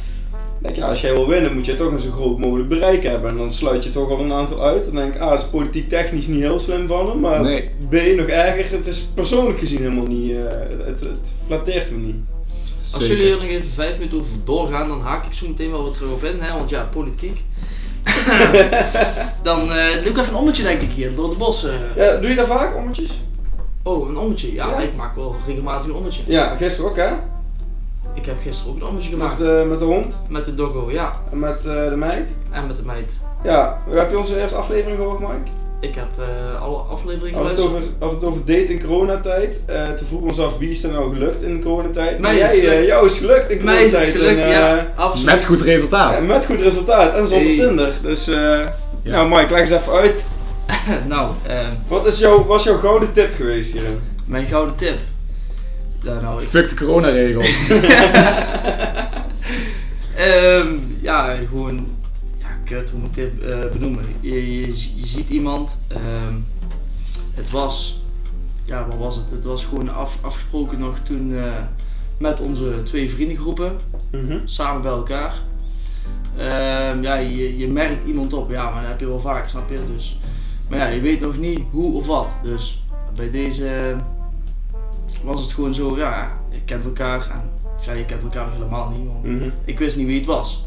[SPEAKER 2] Denk je, als jij wil winnen, moet je toch een zo groot mogelijk bereik hebben. En dan sluit je toch al een aantal uit. Dan denk ik, ah, dat is politiek technisch niet heel slim van hem. Maar
[SPEAKER 1] Nee.
[SPEAKER 2] B, nog erger, het is persoonlijk gezien helemaal niet. eh, het, het flatteert hem niet.
[SPEAKER 3] Als
[SPEAKER 1] zeker.
[SPEAKER 3] jullie er nog even vijf minuten over doorgaan, dan haak ik zo meteen wel wat terug op in, hè, want ja, politiek. dan eh doe ik even een ommetje denk ik hier, door de bossen.
[SPEAKER 2] Ja, doe je dat vaak, ommetjes?
[SPEAKER 3] Oh, een ommetje. Ja,
[SPEAKER 2] Ja.
[SPEAKER 3] ik maak wel regelmatig een ommetje.
[SPEAKER 2] Ja, gisteren ook hè?
[SPEAKER 3] Ik heb gisteren ook een ommetje
[SPEAKER 2] Met,
[SPEAKER 3] gemaakt.
[SPEAKER 2] eh, met de hond
[SPEAKER 3] Met de doggo, ja.
[SPEAKER 2] en met eh, de meid.
[SPEAKER 3] En met de meid.
[SPEAKER 2] Ja, heb je onze eerste aflevering gehoord, Mike?
[SPEAKER 3] Ik heb eh, alle afleveringen
[SPEAKER 2] Had het
[SPEAKER 3] geluisterd.
[SPEAKER 2] over, had het over date in coronatijd. Eh toen vroegen we ons af wie is er nou gelukt in coronatijd.
[SPEAKER 3] Mij
[SPEAKER 2] Maar
[SPEAKER 3] is het
[SPEAKER 2] jij, eh,
[SPEAKER 3] gelukt.
[SPEAKER 2] jou is gelukt in
[SPEAKER 3] Mij is
[SPEAKER 2] coronatijd.
[SPEAKER 3] het gelukt,
[SPEAKER 2] en, eh,
[SPEAKER 3] ja. Absoluut.
[SPEAKER 1] Met goed resultaat.
[SPEAKER 2] En met goed resultaat en zonder
[SPEAKER 3] Hey.
[SPEAKER 2] Tinder. Dus eh, nou Mike, leg eens even uit.
[SPEAKER 3] (laughs) nou, ehm,
[SPEAKER 2] Wat is jouw, was jouw gouden tip geweest hierin?
[SPEAKER 3] mijn gouden tip. Ja, nou, ik...
[SPEAKER 1] Fuck de coronaregels.
[SPEAKER 3] Ehm, ja, gewoon... Ja, kut, hoe moet ik dit eh, benoemen? Je, je, z- je ziet iemand. ehm, het was... Ja, wat was het? Het was gewoon af, afgesproken nog toen eh, met onze twee vriendengroepen. samen bij elkaar. Ehm, ja, je, je merkt iemand op, ja, maar dat heb je wel vaak, snap je? Dus, maar ja, je weet nog niet hoe of wat. Dus bij deze was het gewoon zo, ja, je kent elkaar en of ja, je kent elkaar nog helemaal niet. Want
[SPEAKER 2] Mhm.
[SPEAKER 3] ik wist niet wie het was.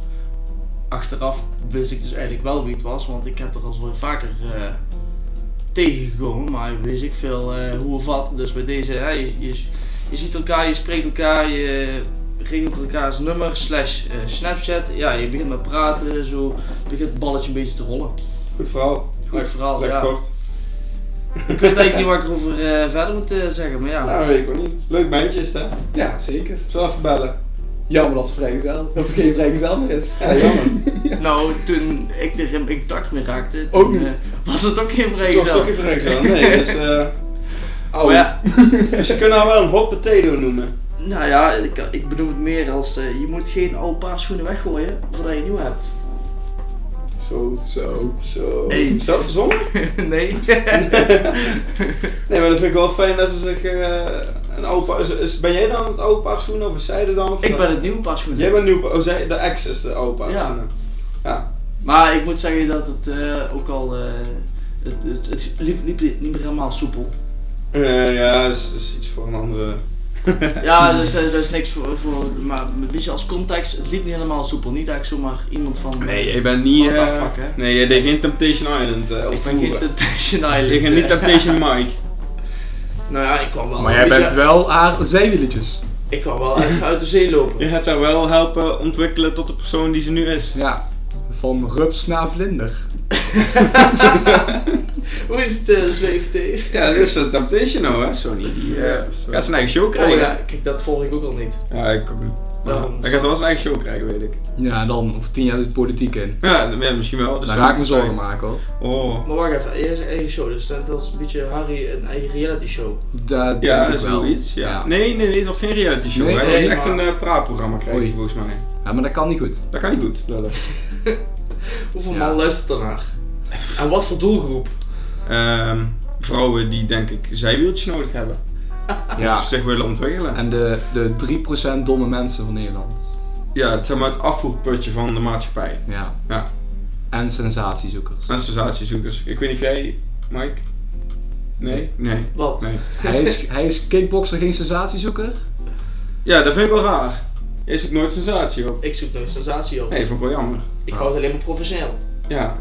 [SPEAKER 3] Achteraf wist ik dus eigenlijk wel wie het was, want ik heb er al wel vaker eh, tegengekomen, maar wist ik veel eh, hoe of wat. Dus bij deze, hè, je, je, je ziet elkaar, je spreekt elkaar, je regelt elkaars nummer, slash eh, Snapchat. Ja, je begint met praten, zo begint het balletje een beetje te rollen.
[SPEAKER 2] Goed verhaal.
[SPEAKER 3] Goed verhaal,
[SPEAKER 2] lekker
[SPEAKER 3] ja.
[SPEAKER 2] kort.
[SPEAKER 3] Ik weet eigenlijk niet waar ik over eh, verder moet eh, zeggen, maar ja.
[SPEAKER 2] Nou, dat weet ik ook niet. Leuk bandje is het, hè?
[SPEAKER 1] (laughs) ja, zeker.
[SPEAKER 2] Zo even bellen.
[SPEAKER 1] Jammer dat ze vrijgezel, of geen vrijgezel meer is.
[SPEAKER 2] Ja, jammer.
[SPEAKER 3] Nou, toen ik er in contact mee raakte,
[SPEAKER 1] Ook
[SPEAKER 3] toen,
[SPEAKER 1] niet.
[SPEAKER 3] eh, was het ook geen
[SPEAKER 2] Toch
[SPEAKER 3] vrees.
[SPEAKER 2] stokje verrekt zo. Nee, dus, eh,
[SPEAKER 1] Oh
[SPEAKER 3] Maar ja,
[SPEAKER 2] (laughs) dus je kunt haar wel een hot potato noemen.
[SPEAKER 3] Nou ja, ik, ik bedoel het meer als eh, je moet geen oude paar schoenen weggooien voordat je nieuw hebt.
[SPEAKER 2] Zo,
[SPEAKER 1] Zo.
[SPEAKER 2] zo.
[SPEAKER 3] Hey.
[SPEAKER 2] Zelf verzonnen?
[SPEAKER 3] (laughs) nee. (laughs)
[SPEAKER 2] Nee, maar dat vind ik wel fijn dat ze zich eh, een opa... Is, is- ben jij dan het opa schoenen of is zij er dan? Of
[SPEAKER 3] ik ben het nieuwe paar schoenen.
[SPEAKER 2] Jij bent nieuw... Oh, zij, de ex is de opa
[SPEAKER 3] Ja.
[SPEAKER 2] schoenen. Ja.
[SPEAKER 3] Maar ik moet zeggen dat het eh, ook al. eh, het het, het liep, liep niet meer helemaal soepel. (laughs)
[SPEAKER 2] Eh, ja, dat is, is iets voor een andere...
[SPEAKER 3] Ja, dus dat, is- dat is niks voor, voor. Maar weet je, als context, het liep niet helemaal soepel. Niet dat ik zomaar iemand van.
[SPEAKER 2] Nee, je bent niet.
[SPEAKER 3] Van het
[SPEAKER 2] eh,
[SPEAKER 3] afpakken, hè?
[SPEAKER 2] nee, je deed geen Temptation Island. eh
[SPEAKER 3] ik ben geen (laughs) Temptation Island.
[SPEAKER 2] Ik ben niet
[SPEAKER 3] eh.
[SPEAKER 2] (laughs) Temptation Mike.
[SPEAKER 3] Nou ja, ik kwam wel.
[SPEAKER 1] Maar jij
[SPEAKER 3] weet je,
[SPEAKER 1] bent wel haar zijwieletjes.
[SPEAKER 3] Ik kwam wel even uit de zee lopen.
[SPEAKER 2] Je hebt haar wel helpen ontwikkelen tot de persoon die ze nu is.
[SPEAKER 1] Ja. Van rups naar vlinder.
[SPEAKER 3] (laughs) Hoe is het, eh, zweefteef?
[SPEAKER 2] Ja, dat is een Temptation nou, hè, Sony. Die eh,
[SPEAKER 1] Ja, zo.
[SPEAKER 2] gaat zijn eigen show
[SPEAKER 3] Oh
[SPEAKER 2] krijgen.
[SPEAKER 3] ja, kijk, dat volg ik ook al niet.
[SPEAKER 2] Ja, ik ook niet.
[SPEAKER 3] Daarom
[SPEAKER 2] Hij
[SPEAKER 3] zou-
[SPEAKER 2] gaat wel zijn eigen show krijgen, weet ik.
[SPEAKER 1] Ja, dan over tien jaar de politiek in.
[SPEAKER 2] Ja, dat- ja, misschien wel. Dus
[SPEAKER 1] Daar
[SPEAKER 2] dan-
[SPEAKER 1] ga ik me zorgen maken hoor.
[SPEAKER 2] Oh.
[SPEAKER 3] Maar wacht even, eerst een eigen show, dus dat, dat is een beetje Harry een eigen reality show.
[SPEAKER 1] Dat denk
[SPEAKER 2] Ja, dat
[SPEAKER 1] ik
[SPEAKER 2] is
[SPEAKER 1] wel.
[SPEAKER 2] wel iets. Ja.
[SPEAKER 1] Ja.
[SPEAKER 2] Nee, nee, nee, het wordt geen reality show.
[SPEAKER 1] Nee,
[SPEAKER 2] hè.
[SPEAKER 3] nee,
[SPEAKER 2] echt
[SPEAKER 3] maar-
[SPEAKER 2] een eh, praatprogramma krijgt hij
[SPEAKER 1] Oei.
[SPEAKER 2] volgens mij.
[SPEAKER 1] Ja, maar dat kan niet goed.
[SPEAKER 2] Dat kan niet goed. lullen.
[SPEAKER 3] Hoeveel
[SPEAKER 1] Ja.
[SPEAKER 3] man luistert ernaar? En wat voor doelgroep?
[SPEAKER 2] Ehm, vrouwen die denk ik zijwieltjes nodig hebben.
[SPEAKER 1] Ja.
[SPEAKER 2] zich willen ontwikkelen.
[SPEAKER 1] En de, de 3% domme mensen van Nederland.
[SPEAKER 2] Ja, het zeg maar het afvoerputje van de maatschappij.
[SPEAKER 1] Ja.
[SPEAKER 2] Ja.
[SPEAKER 1] En sensatiezoekers.
[SPEAKER 2] En sensatiezoekers. Ik weet niet of jij, Mike? Nee? Nee.
[SPEAKER 3] Wat?
[SPEAKER 2] Nee.
[SPEAKER 1] Hij is, (laughs) hij is kickboxer, geen sensatiezoeker?
[SPEAKER 2] Ja, dat vind ik wel raar. Jij zoekt nooit sensatie op.
[SPEAKER 3] Ik zoek nog een sensatie op.
[SPEAKER 2] Nee, vond ik wel jammer.
[SPEAKER 3] Ik hou het alleen maar professioneel.
[SPEAKER 2] Ja,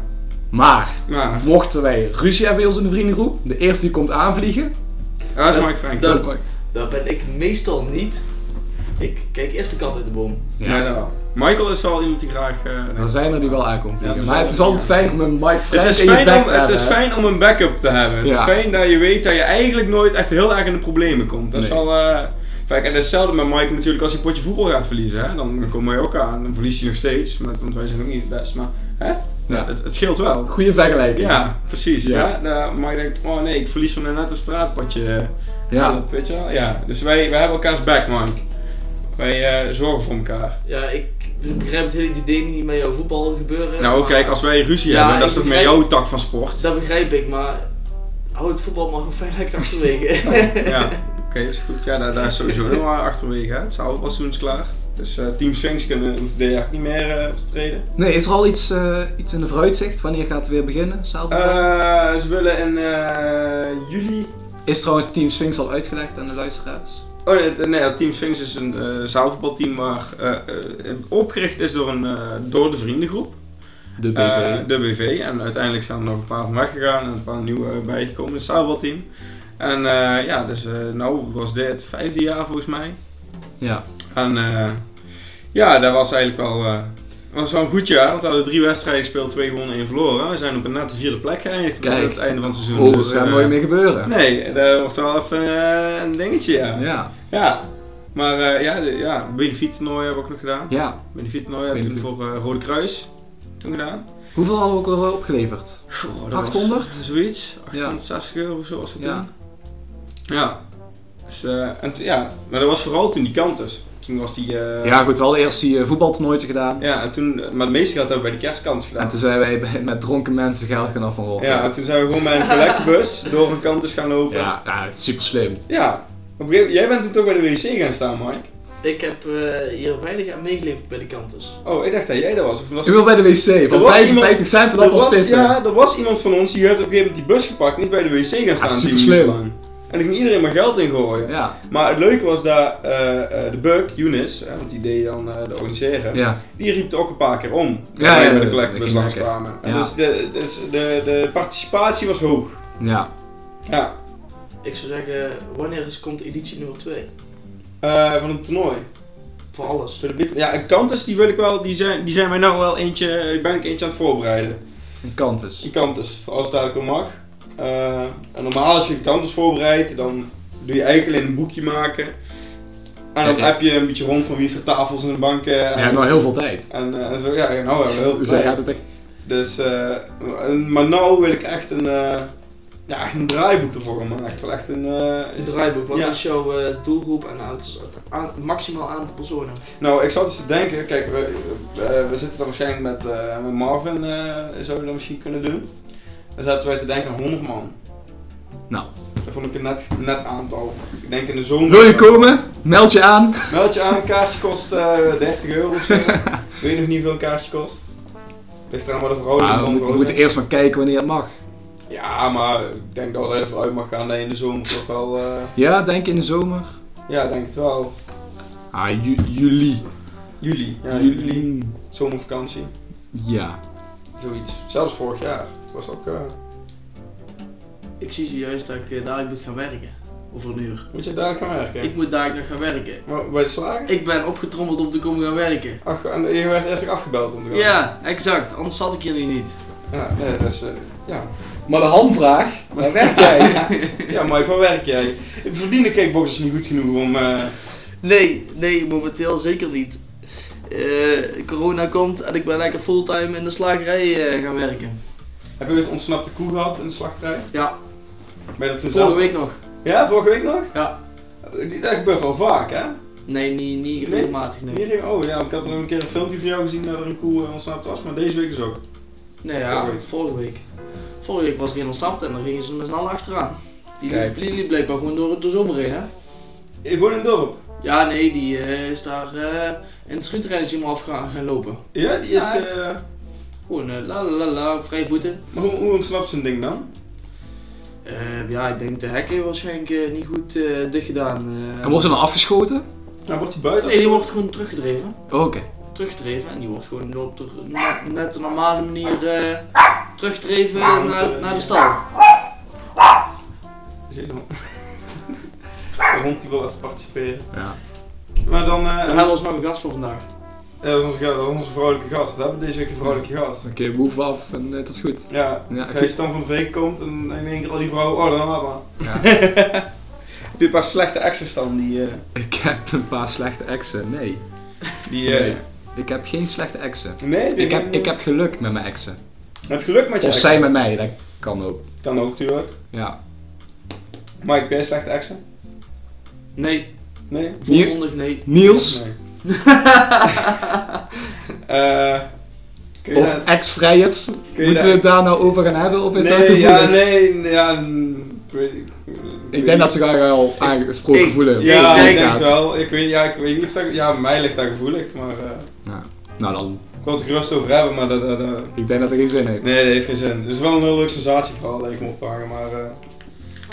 [SPEAKER 1] Maar,
[SPEAKER 2] maar.
[SPEAKER 1] mochten wij ruzie hebben bij ons in de vriendengroep, de eerste die komt aanvliegen,
[SPEAKER 2] Dat is
[SPEAKER 3] Dat-
[SPEAKER 2] Mike Frank.
[SPEAKER 3] dat-
[SPEAKER 2] Mike.
[SPEAKER 3] Dat ben ik meestal niet. Ik kijk eerst de kat uit de boom.
[SPEAKER 2] Ja, dat wel. Michael is wel iemand die graag... eh,
[SPEAKER 1] dan zijn er die wel aankomen vliegen.
[SPEAKER 2] Ja, dan
[SPEAKER 1] maar
[SPEAKER 2] zijn
[SPEAKER 1] het is
[SPEAKER 2] er-
[SPEAKER 1] altijd fijn om een Mike Frank
[SPEAKER 2] Het is,
[SPEAKER 1] in je
[SPEAKER 2] fijn
[SPEAKER 1] bek
[SPEAKER 2] om,
[SPEAKER 1] te
[SPEAKER 2] het
[SPEAKER 1] hebben.
[SPEAKER 2] is fijn om een backup te hebben. Het
[SPEAKER 1] Ja.
[SPEAKER 2] is fijn dat je weet dat je eigenlijk nooit echt heel erg in de problemen komt. Dat is
[SPEAKER 1] Nee.
[SPEAKER 2] wel. eh, vaak, en hetzelfde met Mike natuurlijk als je een potje voetbal gaat verliezen. Hè? Dan komen wij ook aan. Dan verliest hij nog steeds. maar- want wij zijn ook niet het best. Maar hè?
[SPEAKER 1] Ja.
[SPEAKER 2] Het, het scheelt wel.
[SPEAKER 1] Goeie vergelijking.
[SPEAKER 2] Ja, precies.
[SPEAKER 1] Ja.
[SPEAKER 2] Ja. Dan- maar je denkt, oh nee, ik verlies van net een straatpotje. eh,
[SPEAKER 1] Ja.
[SPEAKER 2] help, weet je wel? ja. Dus wij, wij hebben elkaars back, Mike. Wij eh, zorgen voor elkaar.
[SPEAKER 3] Ja, ik begrijp het hele idee niet met jouw voetbal gebeuren.
[SPEAKER 2] Nou,
[SPEAKER 3] maar-
[SPEAKER 2] kijk, als wij ruzie
[SPEAKER 3] Ja,
[SPEAKER 2] hebben, dat
[SPEAKER 3] ik
[SPEAKER 2] is toch meer
[SPEAKER 3] begrijp-
[SPEAKER 2] jouw tak van
[SPEAKER 3] (laughs)
[SPEAKER 2] sport?
[SPEAKER 3] Dat begrijp ik, maar hou het voetbal maar gewoon fijn
[SPEAKER 2] (laughs)
[SPEAKER 3] lekker achterwege.
[SPEAKER 2] Ja, oké, is goed. Ja, daar, daar is sowieso nog maar achterwege. Hè. Het is al wel seizoens klaar. Dus eh, Team Sphinx kunnen hoeft dit jaar niet meer eh optreden.
[SPEAKER 1] Nee, is er al iets, eh, iets in de vooruitzicht? Wanneer gaat het weer beginnen? Zaalvoetbal?
[SPEAKER 2] Eh, ze willen in eh, juli.
[SPEAKER 1] Is trouwens Team Sphinx al uitgelegd aan de luisteraars?
[SPEAKER 2] Oh nee, het- nee ja, Team Sphinx is een eh zaalvoetbalteam waar eh, eh, opgericht is door, een, eh, door de vriendengroep.
[SPEAKER 1] De BV.
[SPEAKER 2] Eh, de BV. En uiteindelijk zijn er nog een paar van weggegaan en een paar nieuwe eh, bijgekomen in het zaalvoetbalteam. En eh, ja, dus eh nou was dit het vijfde jaar volgens mij.
[SPEAKER 1] ja.
[SPEAKER 2] En eh, ja, dat was eigenlijk wel, eh, was wel een goed jaar. Want we hadden drie wedstrijden gespeeld, twee gewonnen, één verloren. We zijn op een nette vierde plek geëindigd aan
[SPEAKER 1] Kijk.
[SPEAKER 2] het einde van het seizoen.
[SPEAKER 1] Oh, dat
[SPEAKER 2] Dus,
[SPEAKER 1] gaat
[SPEAKER 2] eh,
[SPEAKER 1] nooit meer gebeuren.
[SPEAKER 2] Nee, dat wordt wel even eh, een dingetje, ja. Ja,
[SPEAKER 1] Ja.
[SPEAKER 2] maar eh, ja, de, ja, benefiettoernooi hebben we ook nog gedaan.
[SPEAKER 1] ja.
[SPEAKER 2] Benefiettoernooi hebben we toen voor eh, Rode Kruis toen gedaan.
[SPEAKER 1] Hoeveel hadden we ook al opgeleverd?
[SPEAKER 2] Goh, dat was
[SPEAKER 1] 800?
[SPEAKER 2] Zoiets, 860 euro of zo was het
[SPEAKER 1] Ja.
[SPEAKER 2] toen. Ja. Dus, eh, en t- ja, maar dat was vooral toen die kant dus. Toen was die... eh,
[SPEAKER 1] ja, goed, wel eerst die eh, voetbaltoernooietje gedaan.
[SPEAKER 2] Ja, en toen, maar het meeste geld hebben we bij de kerstkans gedaan.
[SPEAKER 1] En toen zijn wij bij- met dronken mensen geld gaan af van roken.
[SPEAKER 2] ja, en toen zijn we gewoon bij een
[SPEAKER 1] (laughs)
[SPEAKER 2] collectebus door een kant dus gaan lopen. Ja.
[SPEAKER 1] ja, ja, het is super slim.
[SPEAKER 2] Op een gegeven moment- jij bent toen toch bij de wc gaan staan, Mike.
[SPEAKER 3] ik heb eh, hier weinig aan meegeleefd bij de kanters.
[SPEAKER 2] Oh, ik dacht dat jij dat was. Of was
[SPEAKER 1] Ik wil bij de wc,
[SPEAKER 2] Er
[SPEAKER 1] van
[SPEAKER 2] was
[SPEAKER 1] 55 cent en
[SPEAKER 2] er
[SPEAKER 1] dan was
[SPEAKER 2] was,
[SPEAKER 1] pissen.
[SPEAKER 2] ja, er was iemand van ons die heeft op een gegeven moment die bus gepakt en is bij de wc gaan staan.
[SPEAKER 1] super
[SPEAKER 2] 10 minuten
[SPEAKER 1] slim.
[SPEAKER 2] lang. En ik ging iedereen maar geld ingooien.
[SPEAKER 1] Ja,
[SPEAKER 2] Maar het leuke was dat eh, eh, de Buck, Younes, hè, want die deed dan eh, de organiseren,
[SPEAKER 1] ja.
[SPEAKER 2] die riep het ook een paar keer om.
[SPEAKER 1] Ja,
[SPEAKER 2] Toen wij
[SPEAKER 1] ja,
[SPEAKER 2] bij de
[SPEAKER 1] dat
[SPEAKER 2] collectebus
[SPEAKER 1] ging
[SPEAKER 2] langs
[SPEAKER 1] lekker.
[SPEAKER 2] kwamen. En
[SPEAKER 1] Ja.
[SPEAKER 2] Dus, de, dus de, de participatie was hoog.
[SPEAKER 1] ja.
[SPEAKER 2] Ja.
[SPEAKER 3] Ik zou zeggen, wanneer is, komt editie nummer 2?
[SPEAKER 2] Eh, van een toernooi.
[SPEAKER 3] Voor alles.
[SPEAKER 2] Voor de bit- ja, en Kantus, die wil ik wel, die zijn, die zijn mij nou wel eentje, die ben ik eentje aan het voorbereiden.
[SPEAKER 1] Een kant is.
[SPEAKER 2] Die Kantus, voor als het eigenlijk wel mag. Eh, en normaal als je een Kantus voorbereidt, dan doe je eigenlijk alleen een boekje maken. En dan
[SPEAKER 1] Ja, ja.
[SPEAKER 2] heb je een beetje rond van wie heeft er tafels en banken. En,
[SPEAKER 1] Ja, nou heel veel tijd.
[SPEAKER 2] en, eh, en zo, ja, ja,
[SPEAKER 1] (laughs)
[SPEAKER 2] nou hebben we heel veel
[SPEAKER 1] Dus hij
[SPEAKER 2] tijd.
[SPEAKER 1] gaat het echt...
[SPEAKER 2] Dus, eh, en- maar nou wil ik echt een, eh, ja, echt een draaiboek ervoor gaan maken. Wel echt een, eh,
[SPEAKER 3] Een draaiboek, wat
[SPEAKER 2] Ja.
[SPEAKER 3] is jouw eh, doelgroep en het, het aan- maximaal aantal personen?
[SPEAKER 2] Nou, ik zat eens te denken, kijk, we, eh, we zitten dan waarschijnlijk met, eh, met Marvin, eh zouden we dat misschien kunnen doen. Dan zaten wij te denken aan 100 man.
[SPEAKER 1] Nou.
[SPEAKER 2] Dat vond ik een net, net aantal. Ik denk in de zomer.
[SPEAKER 1] Wil je komen? Meld je aan.
[SPEAKER 2] Meld je aan, een kaartje kost eh, 30 euro of
[SPEAKER 1] (laughs)
[SPEAKER 2] zo. Weet je nog niet hoeveel een kaartje kost? Ligt eraan wat de verhouding
[SPEAKER 1] Maar Nou, Ah, we, moeten-
[SPEAKER 2] van
[SPEAKER 1] we
[SPEAKER 2] rood
[SPEAKER 1] moeten eerst maar kijken wanneer het mag.
[SPEAKER 2] is. Ja, maar ik denk dat we er even uit mag gaan dat je in de zomer toch wel... eh,
[SPEAKER 1] Ja, denk in de zomer.
[SPEAKER 2] ja, ik denk het wel.
[SPEAKER 1] Ah, ju- juli.
[SPEAKER 2] Juli. Ja,
[SPEAKER 1] Juli.
[SPEAKER 2] juli. Zomervakantie.
[SPEAKER 1] Ja.
[SPEAKER 2] Zoiets. Zelfs vorig jaar. Het was ook... eh,
[SPEAKER 3] Ik zie zojuist dat ik eh, dadelijk moet gaan werken. Over een uur.
[SPEAKER 2] moet je dadelijk gaan werken?
[SPEAKER 3] Ik moet dadelijk nog gaan werken.
[SPEAKER 2] Maar bij de slager?
[SPEAKER 3] Ik ben opgetrommeld om te komen gaan werken.
[SPEAKER 2] Ach, en je werd eerst nog afgebeld om te gaan.
[SPEAKER 3] Ja, exact. Anders zat ik jullie niet.
[SPEAKER 2] Ja, nee, dat is... eh, ja.
[SPEAKER 1] Maar de hamvraag, waar werk jij?
[SPEAKER 2] (laughs) ja, maar waar werk jij? Verdienen kickboxers niet goed genoeg om... eh,
[SPEAKER 3] Nee, nee, momenteel zeker niet. Eh, corona komt en ik ben lekker fulltime in de slagerij eh, gaan werken.
[SPEAKER 2] heb je het ontsnapte koe gehad in de slachterij?
[SPEAKER 3] Ja,
[SPEAKER 2] Ben je dat toen
[SPEAKER 3] vorige
[SPEAKER 2] zelf...
[SPEAKER 3] week nog.
[SPEAKER 2] Ja, vorige week nog?
[SPEAKER 3] Ja.
[SPEAKER 2] Dat gebeurt wel vaak, hè?
[SPEAKER 3] Nee, niet, niet
[SPEAKER 2] Nee?
[SPEAKER 3] regelmatig, nee.
[SPEAKER 2] Hier ging- Oh ja, ik had nog een keer een filmpje van jou gezien dat er een koe eh, ontsnapt was, maar deze week is ook.
[SPEAKER 3] Nee,
[SPEAKER 2] Vorige
[SPEAKER 3] ja,
[SPEAKER 2] week.
[SPEAKER 3] vorige week. Vorige week was ik in ontsnapt en dan gingen ze me snel achteraan. Die
[SPEAKER 2] Kijk.
[SPEAKER 3] liep, die liep blijkbaar gewoon door de zomer heen, hè?
[SPEAKER 2] Ik woon Eh, in het dorp.
[SPEAKER 3] Ja, nee, die eh, is daar eh, in het schietrijdertje helemaal af gaan, gaan lopen.
[SPEAKER 2] Ja, die is...
[SPEAKER 3] Ja, echt?
[SPEAKER 2] eh,
[SPEAKER 3] Gewoon eh, la la la la, op vrije voeten.
[SPEAKER 2] maar hoe, hoe ontsnapt zo'n ding dan?
[SPEAKER 3] Eh, ja, ik denk de hekken waarschijnlijk eh, niet goed eh dicht gedaan. eh.
[SPEAKER 1] En wordt er dan afgeschoten?
[SPEAKER 2] Nou, wordt hij buiten?
[SPEAKER 3] Nee, die wordt gewoon teruggedreven.
[SPEAKER 1] Oh, Oké.
[SPEAKER 3] Teruggedreven en die wordt gewoon op de, net, net de normale manier eh, teruggedreven
[SPEAKER 2] Ja, want,
[SPEAKER 3] naar,
[SPEAKER 2] eh,
[SPEAKER 3] naar de stal.
[SPEAKER 2] Zit er- (laughs) De hond die wil even participeren.
[SPEAKER 1] Ja.
[SPEAKER 2] Maar dan... eh,
[SPEAKER 3] Dan hebben we nog een gast voor vandaag.
[SPEAKER 2] Ja, dat is onze, dat is onze vrouwelijke gast. We hebben we deze week een vrouwelijke gast.
[SPEAKER 1] Oké, move move af en eh, dat is goed.
[SPEAKER 2] Ja,
[SPEAKER 1] Ja,
[SPEAKER 2] als hij Stan van de Veek komt en in één keer al die vrouwen... Oh, dan laat maar.
[SPEAKER 1] Ja.
[SPEAKER 2] (laughs) Heb je een paar slechte exes dan die... eh,
[SPEAKER 1] ik heb een paar slechte exen. Nee.
[SPEAKER 2] die eh,
[SPEAKER 1] Nee. Ik heb geen slechte exen.
[SPEAKER 2] nee, die-
[SPEAKER 1] Ik heb, ik heb geluk met mijn exen.
[SPEAKER 2] Het geluk met je
[SPEAKER 1] Of
[SPEAKER 2] exen.
[SPEAKER 1] zij met mij, dat kan ook.
[SPEAKER 2] Kan ook, tuurlijk.
[SPEAKER 1] Ja.
[SPEAKER 2] Mike, ben je slechte exen?
[SPEAKER 3] Nee,
[SPEAKER 2] Nee?
[SPEAKER 3] volmondig nee.
[SPEAKER 1] Niels, (laughs)
[SPEAKER 2] Nee. (laughs) Eh, kun je
[SPEAKER 1] of ex-vrijers, moeten
[SPEAKER 2] je
[SPEAKER 1] we
[SPEAKER 2] dat-
[SPEAKER 1] het daar nou over gaan hebben? Of is dat
[SPEAKER 2] Nee,
[SPEAKER 1] gevoelig?
[SPEAKER 2] ja, nee, nee, ja, mm, ik weet ik
[SPEAKER 1] Ik denk dat ze daar al aangesproken
[SPEAKER 3] Ik-
[SPEAKER 1] voelen.
[SPEAKER 2] Ja,
[SPEAKER 3] Ja,
[SPEAKER 2] ik
[SPEAKER 3] ik
[SPEAKER 2] denk
[SPEAKER 1] gaat.
[SPEAKER 2] het wel. Ik weet, ja, ik weet niet of dat... Ja, mij ligt dat gevoelig, maar... eh,
[SPEAKER 1] Ja. Nou dan,
[SPEAKER 2] ik wil het er gerust over hebben, maar dat... dat, dat-
[SPEAKER 1] ik denk dat het geen zin heeft.
[SPEAKER 2] Nee, dat heeft geen zin. Het is wel een heel leuk sensatieverhaal dat ik me ophangen, maar... eh,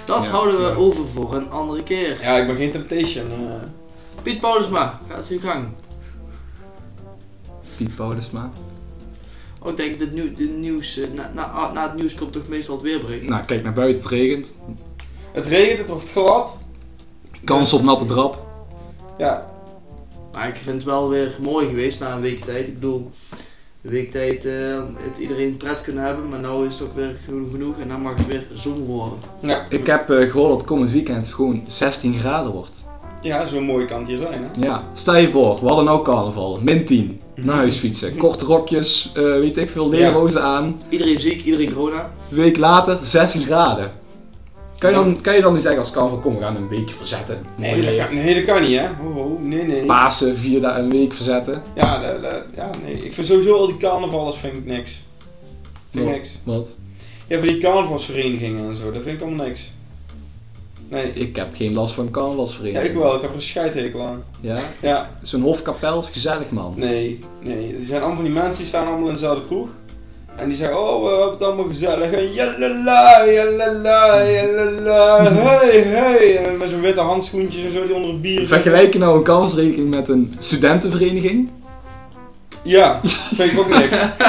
[SPEAKER 3] Dat
[SPEAKER 1] Ja,
[SPEAKER 3] houden we
[SPEAKER 2] ja.
[SPEAKER 3] over voor een andere keer.
[SPEAKER 2] ja, ik ben geen Temptation. eh.
[SPEAKER 3] Piet Paulusma, gaat uw gang.
[SPEAKER 1] Piet Paulusma.
[SPEAKER 3] Oh, ik denk dat nu, de nieuws, eh, na, na, na het nieuws komt toch meestal het weerbericht.
[SPEAKER 1] Nou, kijk naar buiten, het regent.
[SPEAKER 2] Het regent, het wordt glad.
[SPEAKER 1] Kans op natte drap.
[SPEAKER 2] Ja,
[SPEAKER 3] Maar ik vind het wel weer mooi geweest na een week tijd. Ik bedoel, een week tijd eh, het iedereen pret kunnen hebben, maar nu is het ook weer genoeg genoeg en dan mag het weer zon worden.
[SPEAKER 2] ja.
[SPEAKER 1] Ik heb eh, gehoord dat komend weekend gewoon 16 graden wordt.
[SPEAKER 2] ja zo mooi kan het hier zijn, hè?
[SPEAKER 1] Ja, stel je voor, we hadden nou carnaval, min 10. Naar huis fietsen, korte rokjes, eh, weet ik veel, leren
[SPEAKER 2] Ja.
[SPEAKER 1] hozen aan.
[SPEAKER 3] Iedereen ziek, iedereen corona.
[SPEAKER 1] Week later, 16 graden. Kan je, dan, kan je dan niet zeggen als carnaval, kom we gaan een weekje verzetten. Mooi
[SPEAKER 2] Nee, dat
[SPEAKER 1] weer.
[SPEAKER 2] kan, nee, dat kan niet, hè? Ho, ho, nee, nee.
[SPEAKER 1] Pasen, vier dagen een week verzetten.
[SPEAKER 2] Ja, dat- dat- ja, nee. Ik vind sowieso al die carnavallers vind ik niks. Vind ik
[SPEAKER 1] Wat?
[SPEAKER 2] niks.
[SPEAKER 1] Wat?
[SPEAKER 2] Ja, van die carnavalsverenigingen en zo, dat vind ik allemaal niks. Nee.
[SPEAKER 1] Ik heb geen last van
[SPEAKER 2] Ja,
[SPEAKER 1] carnavalsvereniging.
[SPEAKER 2] ik wel. Ik heb er een scheidhekel aan.
[SPEAKER 1] Ja?
[SPEAKER 2] Ja,
[SPEAKER 1] Zo'n hofkapel is gezellig, man.
[SPEAKER 2] nee, nee. Er zijn allemaal van die mensen die staan allemaal in dezelfde kroeg. En die zeggen, oh, we hebben het allemaal gezellig. En jalala, jalala, jalala, hey, hey. En met zo'n witte handschoentjes en zo die onder het bier.
[SPEAKER 1] Vergelijk je nou een carnavalsvereniging met een studentenvereniging?
[SPEAKER 2] Ja, vind ik ook niks.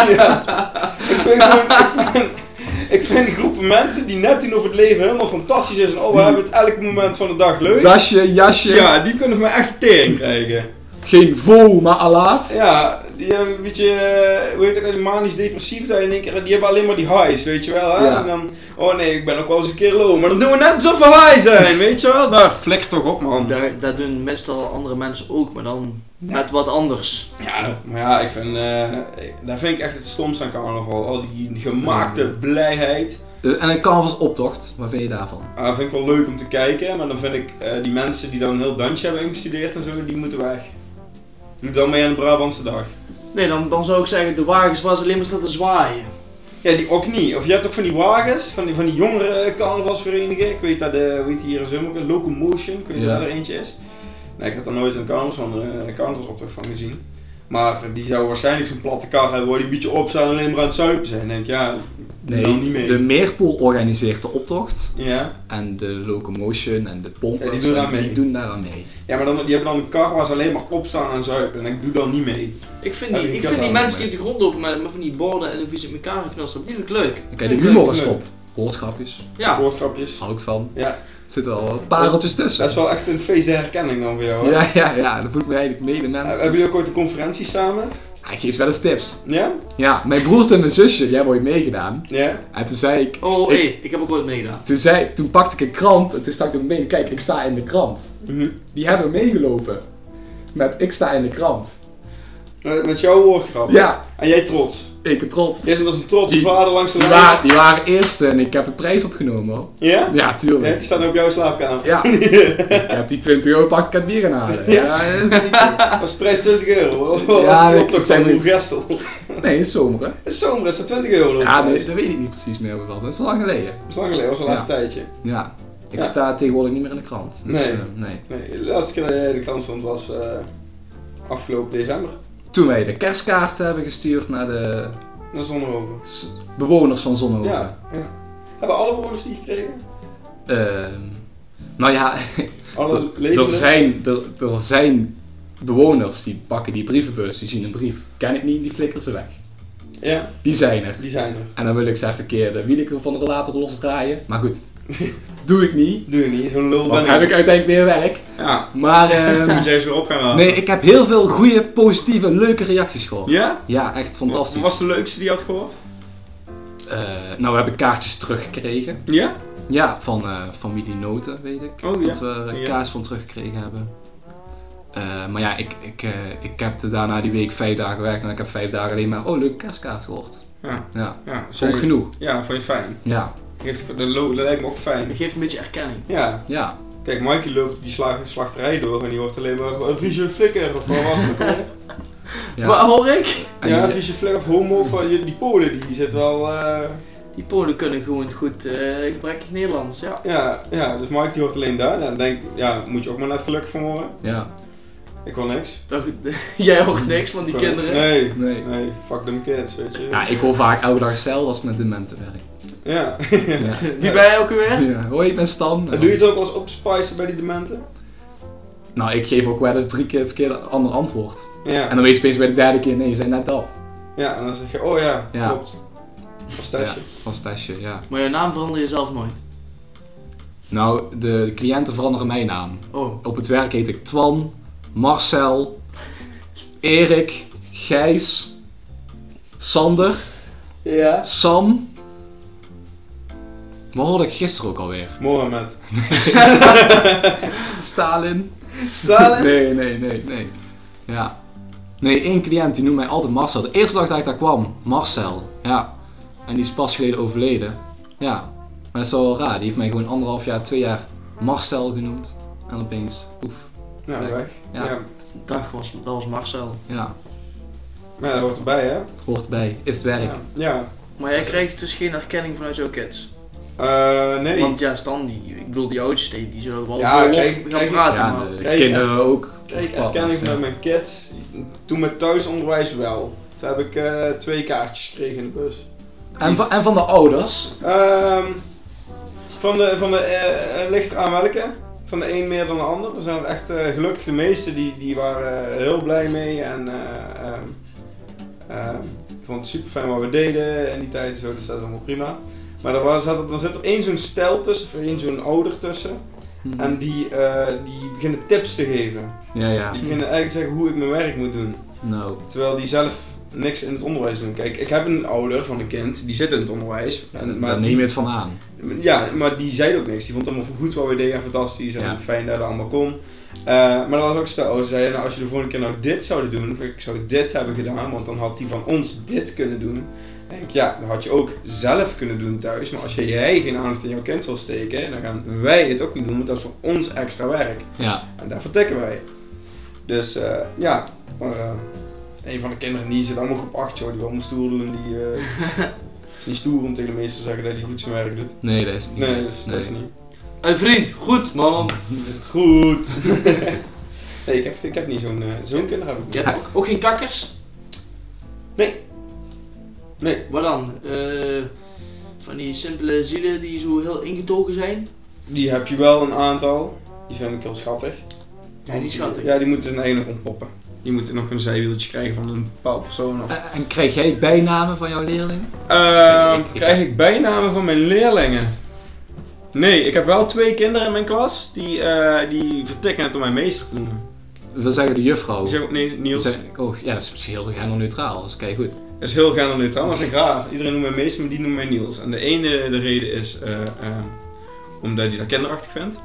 [SPEAKER 2] ja. Ik vind gewoon... ik vind- Ik vind groepen mensen die net doen of het leven helemaal fantastisch is en oh, we hebben het elk moment van de dag leuk.
[SPEAKER 1] Dasje, jasje,
[SPEAKER 2] Ja, die kunnen van mij echt tering krijgen.
[SPEAKER 1] geen vol, maar alaaf.
[SPEAKER 2] Ja, die hebben een beetje, eh, hoe heet dat, die manisch depressief dat je in één keer, die hebben alleen maar die highs, weet je wel. Hè?
[SPEAKER 1] Ja.
[SPEAKER 2] En dan, oh nee, ik ben ook wel eens een keer low, maar dan doen we net alsof we high zijn, weet je wel. Nou, flikker toch op man.
[SPEAKER 3] Daar, daar doen meestal andere mensen ook, maar dan met wat anders.
[SPEAKER 2] Ja, maar ja, ik vind, eh, daar vind ik echt het stomst aan carnaval, al die gemaakte blijheid.
[SPEAKER 1] Eh, En een carnavalsoptocht, wat vind je daarvan?
[SPEAKER 2] Ah, dat vind ik wel leuk om te kijken, maar dan vind ik eh, die mensen die dan een heel dansje hebben ingestudeerd en zo, die moeten weg. Doe dan mee aan de Brabantse dag.
[SPEAKER 3] Nee, dan, dan zou ik zeggen, de wagens was alleen maar staan te zwaaien.
[SPEAKER 2] Ja, die ook niet. Of je hebt ook van die wagens, van die, van die jongere eh, carnavalsverenigingen. Ik weet dat, de, weet hier in Zummer, ook, Locomotion, ik weet niet
[SPEAKER 1] Ja.
[SPEAKER 2] dat er eentje is. Nee, ik heb daar nooit een carnavals van, eh, een carnavalsoptocht van gezien. Maar die zou waarschijnlijk zo'n platte kar hebben waar die een beetje op staan en alleen maar aan het zuipen zijn. Dan denk ik, ja, nee, dan niet mee.
[SPEAKER 1] Nou, de Meerpool organiseert de optocht.
[SPEAKER 2] Ja.
[SPEAKER 1] En de Locomotion en de Pompers,
[SPEAKER 2] Ja, die doen
[SPEAKER 1] en
[SPEAKER 2] daar mee.
[SPEAKER 1] die doen daar aan mee.
[SPEAKER 2] ja, maar dan, die hebben dan een kar waar ze alleen maar op staan en zuipen. En ik doe dan niet mee.
[SPEAKER 3] Ik vind
[SPEAKER 2] Ja,
[SPEAKER 3] die,
[SPEAKER 2] ik
[SPEAKER 3] ik
[SPEAKER 2] heb
[SPEAKER 3] vind die
[SPEAKER 2] daar
[SPEAKER 3] mensen die
[SPEAKER 2] ook
[SPEAKER 3] op de grond lopen met, met van die borden en hoe ze met elkaar geknast hebben, die vind ik leuk.
[SPEAKER 1] Oké, de humor is
[SPEAKER 2] leuk.
[SPEAKER 1] top. Woordgrapjes,
[SPEAKER 3] Ja,
[SPEAKER 2] Woordgrapjes.
[SPEAKER 1] hou ik van.
[SPEAKER 2] Ja.
[SPEAKER 1] Er zitten wel pareltjes tussen.
[SPEAKER 2] Dat is wel echt een feest der herkenning dan voor jou. hoor.
[SPEAKER 1] Ja, ja, ja, dat voelt me eigenlijk mede
[SPEAKER 2] Eh,
[SPEAKER 1] mensen.
[SPEAKER 2] Hebben jullie ook ooit een conferentie samen?
[SPEAKER 1] Hij geeft wel eens tips.
[SPEAKER 2] Ja?
[SPEAKER 1] Ja, mijn broertje en mijn zusje, die hebben ooit meegedaan.
[SPEAKER 2] Ja?
[SPEAKER 1] En toen zei ik...
[SPEAKER 3] oh
[SPEAKER 1] ik-
[SPEAKER 3] hé, ik heb ook wat meegedaan.
[SPEAKER 1] Toen, zei, toen pakte ik een krant en toen stak ik hem mee. Kijk, ik sta in de krant.
[SPEAKER 2] Mhm.
[SPEAKER 1] Die hebben meegelopen. Met ik sta in de krant.
[SPEAKER 2] Met, met jouw woordgrap.
[SPEAKER 1] Ja,
[SPEAKER 2] En jij trots.
[SPEAKER 1] ik ben trots.
[SPEAKER 2] Jij zit als een trotse
[SPEAKER 1] Die-
[SPEAKER 2] vader langs de
[SPEAKER 1] Die,
[SPEAKER 2] lijn.
[SPEAKER 1] wa- die waren eerste en ik heb een prijs opgenomen hoor.
[SPEAKER 2] Ja?
[SPEAKER 1] Ja,
[SPEAKER 2] Ja,
[SPEAKER 1] tuurlijk.
[SPEAKER 2] die staat op jouw slaapkamer.
[SPEAKER 1] Ja. Ik heb die 20 euro pak ik het bier gaan halen. Ja, dat is niet...
[SPEAKER 2] Dat is prijs 20 euro. Oh,
[SPEAKER 1] Ja,
[SPEAKER 2] dat is
[SPEAKER 1] ik-
[SPEAKER 2] de optocht
[SPEAKER 1] ik zei
[SPEAKER 2] van Roel
[SPEAKER 1] niet.
[SPEAKER 2] Gestel.
[SPEAKER 1] Nee, is zomer hè.
[SPEAKER 2] Het is zomer, is dat 20 euro?
[SPEAKER 1] Ja, nee, dat weet ik niet precies meer wat. Dat is lang geleden.
[SPEAKER 2] Dat is lang geleden, dat was al
[SPEAKER 1] Ja.
[SPEAKER 2] even een tijdje.
[SPEAKER 1] Ja. Ik
[SPEAKER 2] Ja.
[SPEAKER 1] sta tegenwoordig niet meer in de krant. Dus,
[SPEAKER 2] Nee.
[SPEAKER 1] eh, nee.
[SPEAKER 2] Nee, de laatste keer dat jij in de krant stond was eh, afgelopen december.
[SPEAKER 1] Toen wij de kerstkaarten hebben gestuurd naar de
[SPEAKER 2] Naar Zonnehoven.
[SPEAKER 1] s- bewoners van Zonnehoven.
[SPEAKER 2] Ja, ja. Hebben alle bewoners die gekregen?
[SPEAKER 1] Ehm, nou ja,
[SPEAKER 2] Alle
[SPEAKER 1] er, er
[SPEAKER 2] levenden?
[SPEAKER 1] zijn, er, er zijn bewoners die pakken die brievenbus, die zien een brief. Ken ik niet, die flikkeren ze weg.
[SPEAKER 2] Ja,
[SPEAKER 1] Die zijn er.
[SPEAKER 2] die zijn er.
[SPEAKER 1] En dan wil ik ze even keer de wielen van de relator losdraaien. Maar
[SPEAKER 2] (laughs)
[SPEAKER 1] goed, doe ik niet.
[SPEAKER 2] Doe je niet, zo'n lul
[SPEAKER 1] Want
[SPEAKER 2] ben
[SPEAKER 1] dan heb ik uiteindelijk weer werk.
[SPEAKER 2] Ja,
[SPEAKER 1] Maar
[SPEAKER 2] (laughs) dan
[SPEAKER 1] ehm,
[SPEAKER 2] moet jij eens weer op gaan halen.
[SPEAKER 1] nee, ik heb heel veel goede, positieve, leuke reacties gehoord.
[SPEAKER 2] Ja?
[SPEAKER 1] Ja, echt fantastisch.
[SPEAKER 2] Wat was de leukste die je had gehoord?
[SPEAKER 1] Eh, nou, we hebben kaartjes teruggekregen.
[SPEAKER 2] Ja?
[SPEAKER 1] Ja, van eh, familie Noten, weet ik.
[SPEAKER 2] Oh ja.
[SPEAKER 1] Dat we er
[SPEAKER 2] Ja.
[SPEAKER 1] kaas van teruggekregen hebben. Eh, maar ja, ik, ik, eh, ik heb de- daarna die week vijf dagen gewerkt en ik heb vijf dagen alleen maar, oh, leuke kerstkaart gehoord.
[SPEAKER 2] Ja,
[SPEAKER 1] Ja,
[SPEAKER 2] ja.
[SPEAKER 1] vond ik
[SPEAKER 2] zei-
[SPEAKER 1] genoeg.
[SPEAKER 2] Ja, vond je fijn.
[SPEAKER 1] Ja,
[SPEAKER 2] Heeft- Dat lo- dat lijkt me ook fijn.
[SPEAKER 3] Het geeft een beetje erkenning.
[SPEAKER 2] Ja,
[SPEAKER 1] ja.
[SPEAKER 2] kijk, Mike die loopt die sla- slachterij door en die hoort alleen maar eh, vieze flikker of wat was
[SPEAKER 1] (laughs)
[SPEAKER 2] het? ook alweer?
[SPEAKER 1] ja.
[SPEAKER 3] Wat hoor ik?
[SPEAKER 1] En
[SPEAKER 2] Ja,
[SPEAKER 1] die-
[SPEAKER 2] vieze flikker of homo van die, die Polen die zit wel. eh,
[SPEAKER 3] Die Polen kunnen gewoon goed eh gebrekkig Nederlands, ja.
[SPEAKER 2] ja, ja, dus Mike die hoort alleen daar. Nou, Dan denk ik, ja, moet je ook maar net gelukkig van worden.
[SPEAKER 1] ja.
[SPEAKER 2] Ik wil niks.
[SPEAKER 3] Nou goed, (laughs) Jij hoort niks van die
[SPEAKER 2] Ik wil niks.
[SPEAKER 3] kinderen.
[SPEAKER 2] Nee.
[SPEAKER 1] Nee.
[SPEAKER 2] Nee, fuck them kids, weet je.
[SPEAKER 1] Ja, ik hoor vaak elke dag zelf als ik met dementen werk.
[SPEAKER 2] Ja.
[SPEAKER 1] (laughs) Ja.
[SPEAKER 3] (laughs) Wie ben jij ook weer?
[SPEAKER 1] Ja, Hoi, ik ben Stan.
[SPEAKER 2] En doe je het ook als opspicen bij die dementen?
[SPEAKER 1] Nou, ik geef ook wel eens drie keer verkeerd een ander antwoord.
[SPEAKER 2] Ja.
[SPEAKER 1] En dan weet je opeens bij de derde keer, nee, je zei net dat.
[SPEAKER 2] Ja, en dan zeg je, oh ja,
[SPEAKER 1] Ja.
[SPEAKER 2] klopt. Als testje.
[SPEAKER 1] Van het testje, ja.
[SPEAKER 3] Maar je naam verander je zelf nooit.
[SPEAKER 1] Nou, de cliënten veranderen mijn naam.
[SPEAKER 3] Oh,
[SPEAKER 1] Op het werk heet ik Twan, Marcel, Erik, Gijs, Sander,
[SPEAKER 2] Ja.
[SPEAKER 1] Sam. Wat hoorde ik gisteren ook alweer?
[SPEAKER 2] Mohammed.
[SPEAKER 1] Stalin?
[SPEAKER 2] Stalin?
[SPEAKER 1] Nee, nee, nee, nee. Ja. Nee, één cliënt die noemt mij altijd Marcel. De eerste dag dat ik daar kwam, Marcel. Ja. En die is pas geleden overleden. Ja. Maar dat is wel wel raar. Die heeft mij gewoon anderhalf jaar, twee jaar Marcel genoemd. En opeens, oef.
[SPEAKER 2] Nou,
[SPEAKER 1] Nee.
[SPEAKER 2] weg. Ja.
[SPEAKER 1] Ja.
[SPEAKER 3] dag was, dat was Marcel.
[SPEAKER 1] Ja,
[SPEAKER 2] Maar dat hoort erbij, hè?
[SPEAKER 1] het hoort bij. Is het werk.
[SPEAKER 2] Ja. ja.
[SPEAKER 3] Maar jij krijgt dus geen erkenning vanuit jouw kids.
[SPEAKER 2] Eh, nee.
[SPEAKER 3] Want ja, Stan, die, ik bedoel die oudste, die zullen wel
[SPEAKER 2] Ja,
[SPEAKER 3] vol lof
[SPEAKER 2] kijk-
[SPEAKER 3] gaan
[SPEAKER 2] kijk-
[SPEAKER 3] praten.
[SPEAKER 1] Ja,
[SPEAKER 3] maar-
[SPEAKER 1] de
[SPEAKER 2] Kijk,
[SPEAKER 1] kinderen ook.
[SPEAKER 2] Kijk,
[SPEAKER 1] Of partners,
[SPEAKER 2] erkenning
[SPEAKER 1] ja.
[SPEAKER 2] vanuit mijn kids. Toen met thuisonderwijs wel. Toen heb ik eh, twee kaartjes gekregen in de bus.
[SPEAKER 1] En, van, en van de ouders.
[SPEAKER 2] Ehm, van de, van de eh, eh, ligt aan welke. Van de een meer dan de ander. Er zijn er echt eh, gelukkig de meesten die, die waren eh, heel blij mee. En eh, ehm, ehm, ik vond het super fijn wat we deden in die tijd. en Zo, dus dat is allemaal prima. Maar er, was, zat, er- er zit er één zo'n stijl tussen, of één zo'n ouder tussen.
[SPEAKER 1] Mhm.
[SPEAKER 2] En die, eh, die beginnen tips te geven.
[SPEAKER 1] Ja, ja.
[SPEAKER 2] Die beginnen eigenlijk zeggen hoe ik mijn werk moet doen.
[SPEAKER 1] Nou.
[SPEAKER 2] Terwijl die zelf niks in het onderwijs doen. Kijk, ik heb een ouder van een kind, die zit in het onderwijs. En,
[SPEAKER 1] Daar
[SPEAKER 2] maar
[SPEAKER 1] neem je het van aan.
[SPEAKER 2] ja, maar die zei ook niks. Die vond het allemaal goed wat we deden en fantastisch en
[SPEAKER 1] Ja.
[SPEAKER 2] fijn dat het allemaal kon. Eh, maar dat was ook stel, ze zeiden, nou, als je de volgende keer nou dit zouden doen, of ik zou dit hebben gedaan, want dan had die van ons dit kunnen doen. Dan denk ik, ja, dat had je ook zelf kunnen doen thuis, maar als jij geen aandacht in jouw kind wil steken, dan gaan wij het ook niet doen, want dat is voor ons extra werk.
[SPEAKER 1] Ja.
[SPEAKER 2] En daar vertikken wij. Dus eh, ja, maar eh, een van de kinderen die zit allemaal op acht, joh, die wil allemaal stoer doen, die eh, (laughs) is niet stoer om tegen de meester te zeggen dat hij goed zijn werk doet.
[SPEAKER 1] Nee, dat is niet.
[SPEAKER 2] Nee, dat is, dat is niet.
[SPEAKER 3] Hey vriend, goed man.
[SPEAKER 2] Dat is goed. (laughs) nee, ik heb, ik heb niet zo'n eh, zo'n kinder. Heb ik niet.
[SPEAKER 3] Je hebt ook, ook geen kakkers?
[SPEAKER 2] Nee. Nee.
[SPEAKER 3] Wat dan? Eh, van die simpele zielen die zo heel ingetogen zijn?
[SPEAKER 2] Die heb je wel een aantal. Die vind ik heel schattig.
[SPEAKER 3] Ja, die schattig.
[SPEAKER 2] Ja, die moeten hun eigen nog ontpoppen. Die moeten nog een zijwieltje krijgen van een bepaald persoon. Of...
[SPEAKER 1] En, en krijg jij bijnamen van jouw leerling?
[SPEAKER 2] Ehm,
[SPEAKER 1] ik-
[SPEAKER 2] krijg ik bijnamen van mijn leerlingen? Nee, ik heb wel twee kinderen in mijn klas die, eh, die vertikken het om mijn meester te
[SPEAKER 1] Oh.
[SPEAKER 2] noemen.
[SPEAKER 1] We zeggen de juffrouw.
[SPEAKER 2] Die zeggen ook nee,
[SPEAKER 1] We
[SPEAKER 2] Niels.
[SPEAKER 1] zeggen- oh, ja, dat is misschien heel genderneutraal. Dat is kei goed.
[SPEAKER 2] Dat is heel gaande neutraal, maar dat vind ik raar. Iedereen noemt mij meester, maar die noemt mij Niels. En de ene de reden is eh, eh, omdat hij dat kinderachtig vindt.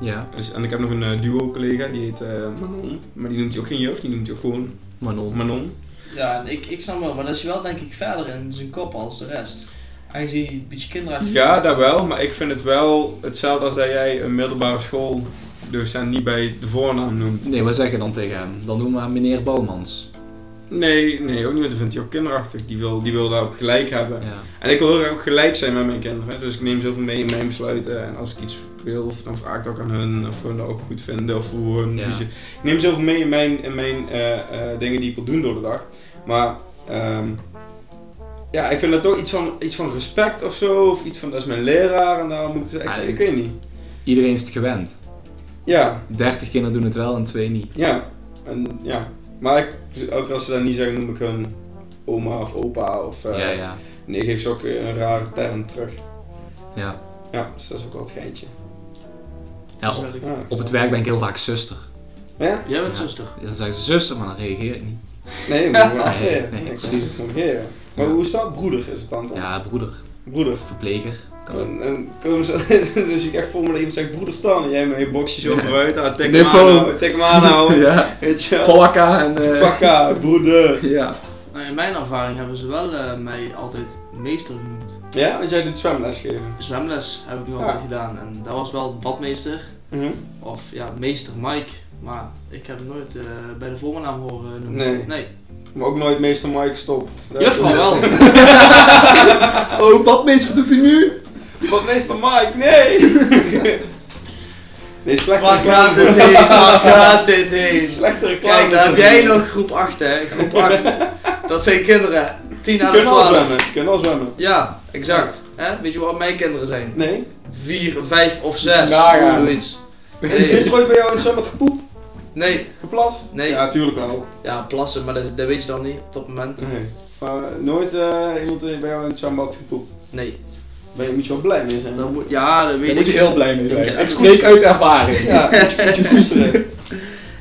[SPEAKER 1] Ja.
[SPEAKER 2] Dus, en ik heb nog een eh, duo-collega, die heet eh, Manon. Maar die noemt hij ook geen jeugd, die noemt hij ook gewoon
[SPEAKER 1] Manon.
[SPEAKER 2] Manon.
[SPEAKER 3] Ja, en ik, ik snap wel, maar dat is wel denk ik verder in zijn kop als de rest. Aangezien hij een beetje kinderachtig
[SPEAKER 2] Ja, daar wel, maar ik vind het wel hetzelfde als dat jij een middelbare schooldocent niet bij de voornaam noemt.
[SPEAKER 1] Nee, wat zeg je dan tegen hem? Dan noemen we hem meneer Bouwmans.
[SPEAKER 2] Nee, nee, ook niet, want dat vindt hij ook kinderachtig. Die wil, die wil daar ook gelijk hebben.
[SPEAKER 1] Ja.
[SPEAKER 2] En ik wil heel graag ook gelijk zijn met mijn kinderen. Dus ik neem zoveel mee in mijn besluiten. En als ik iets veel. Of dan vraag ik het ook aan hun of hun dat ook goed vinden. Of hoe hun
[SPEAKER 1] Ja.
[SPEAKER 2] visie- Ik neem zoveel mee in mijn, in mijn eh, eh, dingen die ik wil doen door de dag. Maar ehm, ja, ik vind dat toch iets van, iets van respect of zo. Of iets van dat is mijn leraar en daar moet ik.
[SPEAKER 1] Ah,
[SPEAKER 2] Ik, ik weet niet.
[SPEAKER 1] Iedereen is het gewend.
[SPEAKER 2] Ja,
[SPEAKER 1] 30 kinderen doen het wel en twee niet.
[SPEAKER 2] ja. En, ja. Maar ik, ook als ze dat niet zeggen, noem ik hun oma of opa. Of, eh,
[SPEAKER 1] ja, ja,
[SPEAKER 2] Nee, ik geef ze ook een rare term terug.
[SPEAKER 1] ja.
[SPEAKER 2] Ja, dus dat is ook wel het geintje. Ah,
[SPEAKER 1] ja op,
[SPEAKER 3] Gezellig.
[SPEAKER 2] Ja.
[SPEAKER 1] op het werk ben ik heel vaak zuster.
[SPEAKER 2] Ja?
[SPEAKER 3] Jij bent
[SPEAKER 1] Ja.
[SPEAKER 3] zuster.
[SPEAKER 1] Dan zeggen ze zuster, maar dan reageer ik niet.
[SPEAKER 2] Nee, maar
[SPEAKER 1] (laughs)
[SPEAKER 2] gewoon afweren.
[SPEAKER 1] nee,
[SPEAKER 2] Nee, ik
[SPEAKER 1] precies.
[SPEAKER 2] kan het gewoon negeren. Maar
[SPEAKER 1] Ja.
[SPEAKER 2] hoe is dat? Broeder is het dan toch?
[SPEAKER 1] Ja, broeder,
[SPEAKER 2] Broeder.
[SPEAKER 1] verpleger. Kan ook.
[SPEAKER 2] En, en komen ze, (laughs) dus ik echt voor me dat iemand zegt broeder staan en jij met je boxje zo
[SPEAKER 1] Ja.
[SPEAKER 2] vooruit. Ah, tik
[SPEAKER 1] Nee,
[SPEAKER 2] hem
[SPEAKER 1] voor-
[SPEAKER 2] aan, tik hem aan houden.
[SPEAKER 1] (laughs) ja,
[SPEAKER 2] Weet je wel.
[SPEAKER 1] valka en... eh,
[SPEAKER 2] Pakka, broeder.
[SPEAKER 1] ja.
[SPEAKER 3] Nou, in mijn ervaring hebben ze wel eh, mij altijd meester genoemd.
[SPEAKER 2] Ja, want jij doet zwemles geven.
[SPEAKER 3] Zwemles heb ik nog
[SPEAKER 2] Ja.
[SPEAKER 3] altijd gedaan en dat was wel badmeester
[SPEAKER 2] Mhm.
[SPEAKER 3] of ja, meester Mike. Maar ik heb hem nooit eh, bij de voornaam horen noemen.
[SPEAKER 2] Nee. Maar ook nooit meester Mike stop. Dat
[SPEAKER 3] Juffrouw
[SPEAKER 2] is- (laughs)
[SPEAKER 3] wel.
[SPEAKER 1] Oh, badmeester, wat doet hij nu?
[SPEAKER 2] Wat meester Mike, nee! (laughs) nee, slechte
[SPEAKER 3] Waar gaat
[SPEAKER 2] reclame.
[SPEAKER 3] dit heen? Waar gaat dit heen?
[SPEAKER 2] Slechte reclame.
[SPEAKER 3] Kijk, daar heb jij nog groep 8 hè. Groep 8. Dat zijn kinderen. 10 aan de
[SPEAKER 2] Kunnen al
[SPEAKER 3] 12.
[SPEAKER 2] zwemmen, kunnen al zwemmen.
[SPEAKER 3] Ja, exact. Hè? Weet je wat mijn kinderen zijn?
[SPEAKER 2] Nee?
[SPEAKER 3] 4, 5 of 6.
[SPEAKER 2] Nagaan.
[SPEAKER 3] Zoiets.
[SPEAKER 2] (laughs) Is
[SPEAKER 3] Nee,
[SPEAKER 2] er ooit bij jou in het zwembad gepoept?
[SPEAKER 3] nee.
[SPEAKER 2] Geplast?
[SPEAKER 3] Nee.
[SPEAKER 2] Ja, tuurlijk wel.
[SPEAKER 3] Ja, plassen, maar dat, is- dat weet je dan niet op dat moment.
[SPEAKER 2] Nee. Maar nooit eh, iemand bij jou in het zwembad gepoept.
[SPEAKER 3] Nee.
[SPEAKER 2] Daar moet je wel blij mee zijn.
[SPEAKER 3] Dat moet, ja, dat weet
[SPEAKER 1] Daar moet je
[SPEAKER 3] ik.
[SPEAKER 1] heel blij mee
[SPEAKER 3] Ik-
[SPEAKER 1] zijn. Ik spreek uit ervaring.
[SPEAKER 2] Ja, moet je, moet je (laughs) koesteren.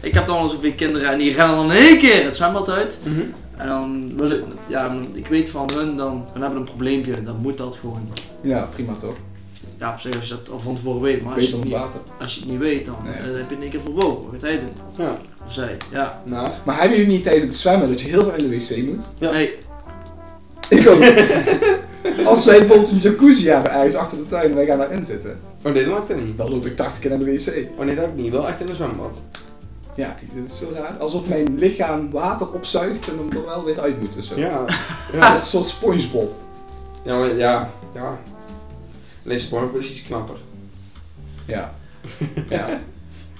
[SPEAKER 3] Ik heb dan al zoveel kinderen en die rennen dan in één keer het zwembad uit.
[SPEAKER 2] Mhm.
[SPEAKER 3] En dan, wil ik- ja, ik weet van hun, dan, hun hebben een probleempje. Dan moet dat gewoon.
[SPEAKER 1] Ja, prima toch?
[SPEAKER 3] Ja, op zich als je dat al van tevoren weet, maar als je
[SPEAKER 1] Beter
[SPEAKER 3] het
[SPEAKER 1] om het
[SPEAKER 3] niet,
[SPEAKER 1] water.
[SPEAKER 3] als je het niet weet, dan
[SPEAKER 1] Nee.
[SPEAKER 3] eh, dan heb je in één keer van wow, wat gaat hij doen?
[SPEAKER 2] Ja,
[SPEAKER 3] Of zij, ja.
[SPEAKER 2] nou.
[SPEAKER 1] Maar hebben jullie niet tijdens het zwemmen dat je heel veel naar de wc moet?
[SPEAKER 2] Ja.
[SPEAKER 3] Nee,
[SPEAKER 1] Ik ook. Als wij bijvoorbeeld een jacuzzi hebben ergens achter de tuin en wij gaan daarin zitten,
[SPEAKER 2] Oh nee, dat maakt dat niet.
[SPEAKER 1] dan loop ik 80 keer naar de wc.
[SPEAKER 2] Oh nee, dat heb ik niet. Wel echt in een zwembad.
[SPEAKER 1] Ja, dat is zo raar. Alsof mijn lichaam water opzuigt en hem er wel weer uit moet. en Zo.
[SPEAKER 2] Ja.
[SPEAKER 1] Dat
[SPEAKER 2] Ja,
[SPEAKER 1] is een soort SpongeBob.
[SPEAKER 2] ja. maar- ja. ja. Alleen SpongeBob is iets knapper.
[SPEAKER 1] Ja. ja.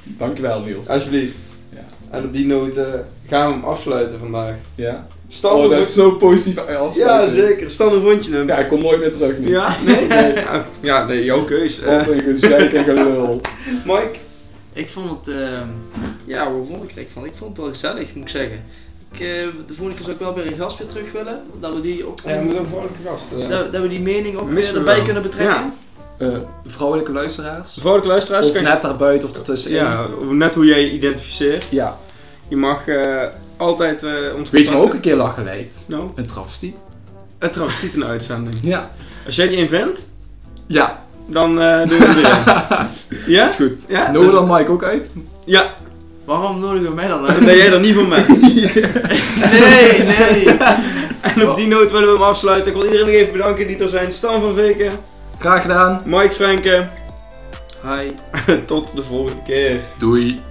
[SPEAKER 1] Dankjewel, Niels.
[SPEAKER 2] Alsjeblieft.
[SPEAKER 1] Ja.
[SPEAKER 2] En op die noot eh, gaan we hem afsluiten vandaag.
[SPEAKER 1] Ja. Oh,
[SPEAKER 2] Stam een
[SPEAKER 1] zo positief afsluiting.
[SPEAKER 2] Oh, Ja, zeker. Stam een rondje doen.
[SPEAKER 1] Ja, ik kom nooit meer terug nu.
[SPEAKER 2] Ja? Nee? nee. Ja, (laughs) Ja, nee, jouw keus. Eh,
[SPEAKER 1] Wat een gezeik en gelul.
[SPEAKER 2] Oh, Mike?
[SPEAKER 3] ik vond het, ehm, ja, hoe vond ik het? Ik vond, ik vond het wel gezellig, moet ik zeggen. Ik, eh, de volgende keer zou ik wel weer een gast weer terug willen, dat we die, ook,
[SPEAKER 2] Ja, we moeten een vrolijke gast. eh.
[SPEAKER 3] dat, dat we die mening ook
[SPEAKER 2] Missen
[SPEAKER 3] weer
[SPEAKER 2] we
[SPEAKER 3] erbij
[SPEAKER 2] wel.
[SPEAKER 3] kunnen betrekken.
[SPEAKER 2] Ja.
[SPEAKER 1] (laughs) Eh, vrouwelijke luisteraars?
[SPEAKER 2] Vrolijke luisteraars,
[SPEAKER 1] Of
[SPEAKER 2] kan je-
[SPEAKER 1] net daarbuiten of ertussenin?
[SPEAKER 2] Ja, net hoe jij je identificeert.
[SPEAKER 1] ja.
[SPEAKER 2] Je mag eh, altijd eh ons
[SPEAKER 1] Weet je maar ook
[SPEAKER 2] contacten.
[SPEAKER 1] een keer lachen leidt?
[SPEAKER 2] Nou,
[SPEAKER 1] Een travestiet.
[SPEAKER 2] het trouwens niet een uitzending.
[SPEAKER 1] Ja.
[SPEAKER 2] Als jij die invent,
[SPEAKER 1] Ja. (laughs)
[SPEAKER 2] dan eh doen we het weer.
[SPEAKER 1] Dat
[SPEAKER 2] Ja?
[SPEAKER 1] is goed.
[SPEAKER 2] Ja?
[SPEAKER 1] Nodig dan Mike ook uit?
[SPEAKER 2] Ja,
[SPEAKER 3] Waarom nodigen wij dan uit?
[SPEAKER 2] dan ben jij dan niet van
[SPEAKER 1] (laughs)
[SPEAKER 2] mij.
[SPEAKER 3] (laughs)
[SPEAKER 2] (laughs)
[SPEAKER 3] Nee, nee.
[SPEAKER 2] En op die noot willen we hem afsluiten. Ik wil iedereen nog even bedanken die er zijn. Stan van Veken,
[SPEAKER 1] Graag gedaan.
[SPEAKER 2] (laughs) Mike Franken.
[SPEAKER 3] Hi.
[SPEAKER 2] Tot de volgende keer.
[SPEAKER 1] Doei.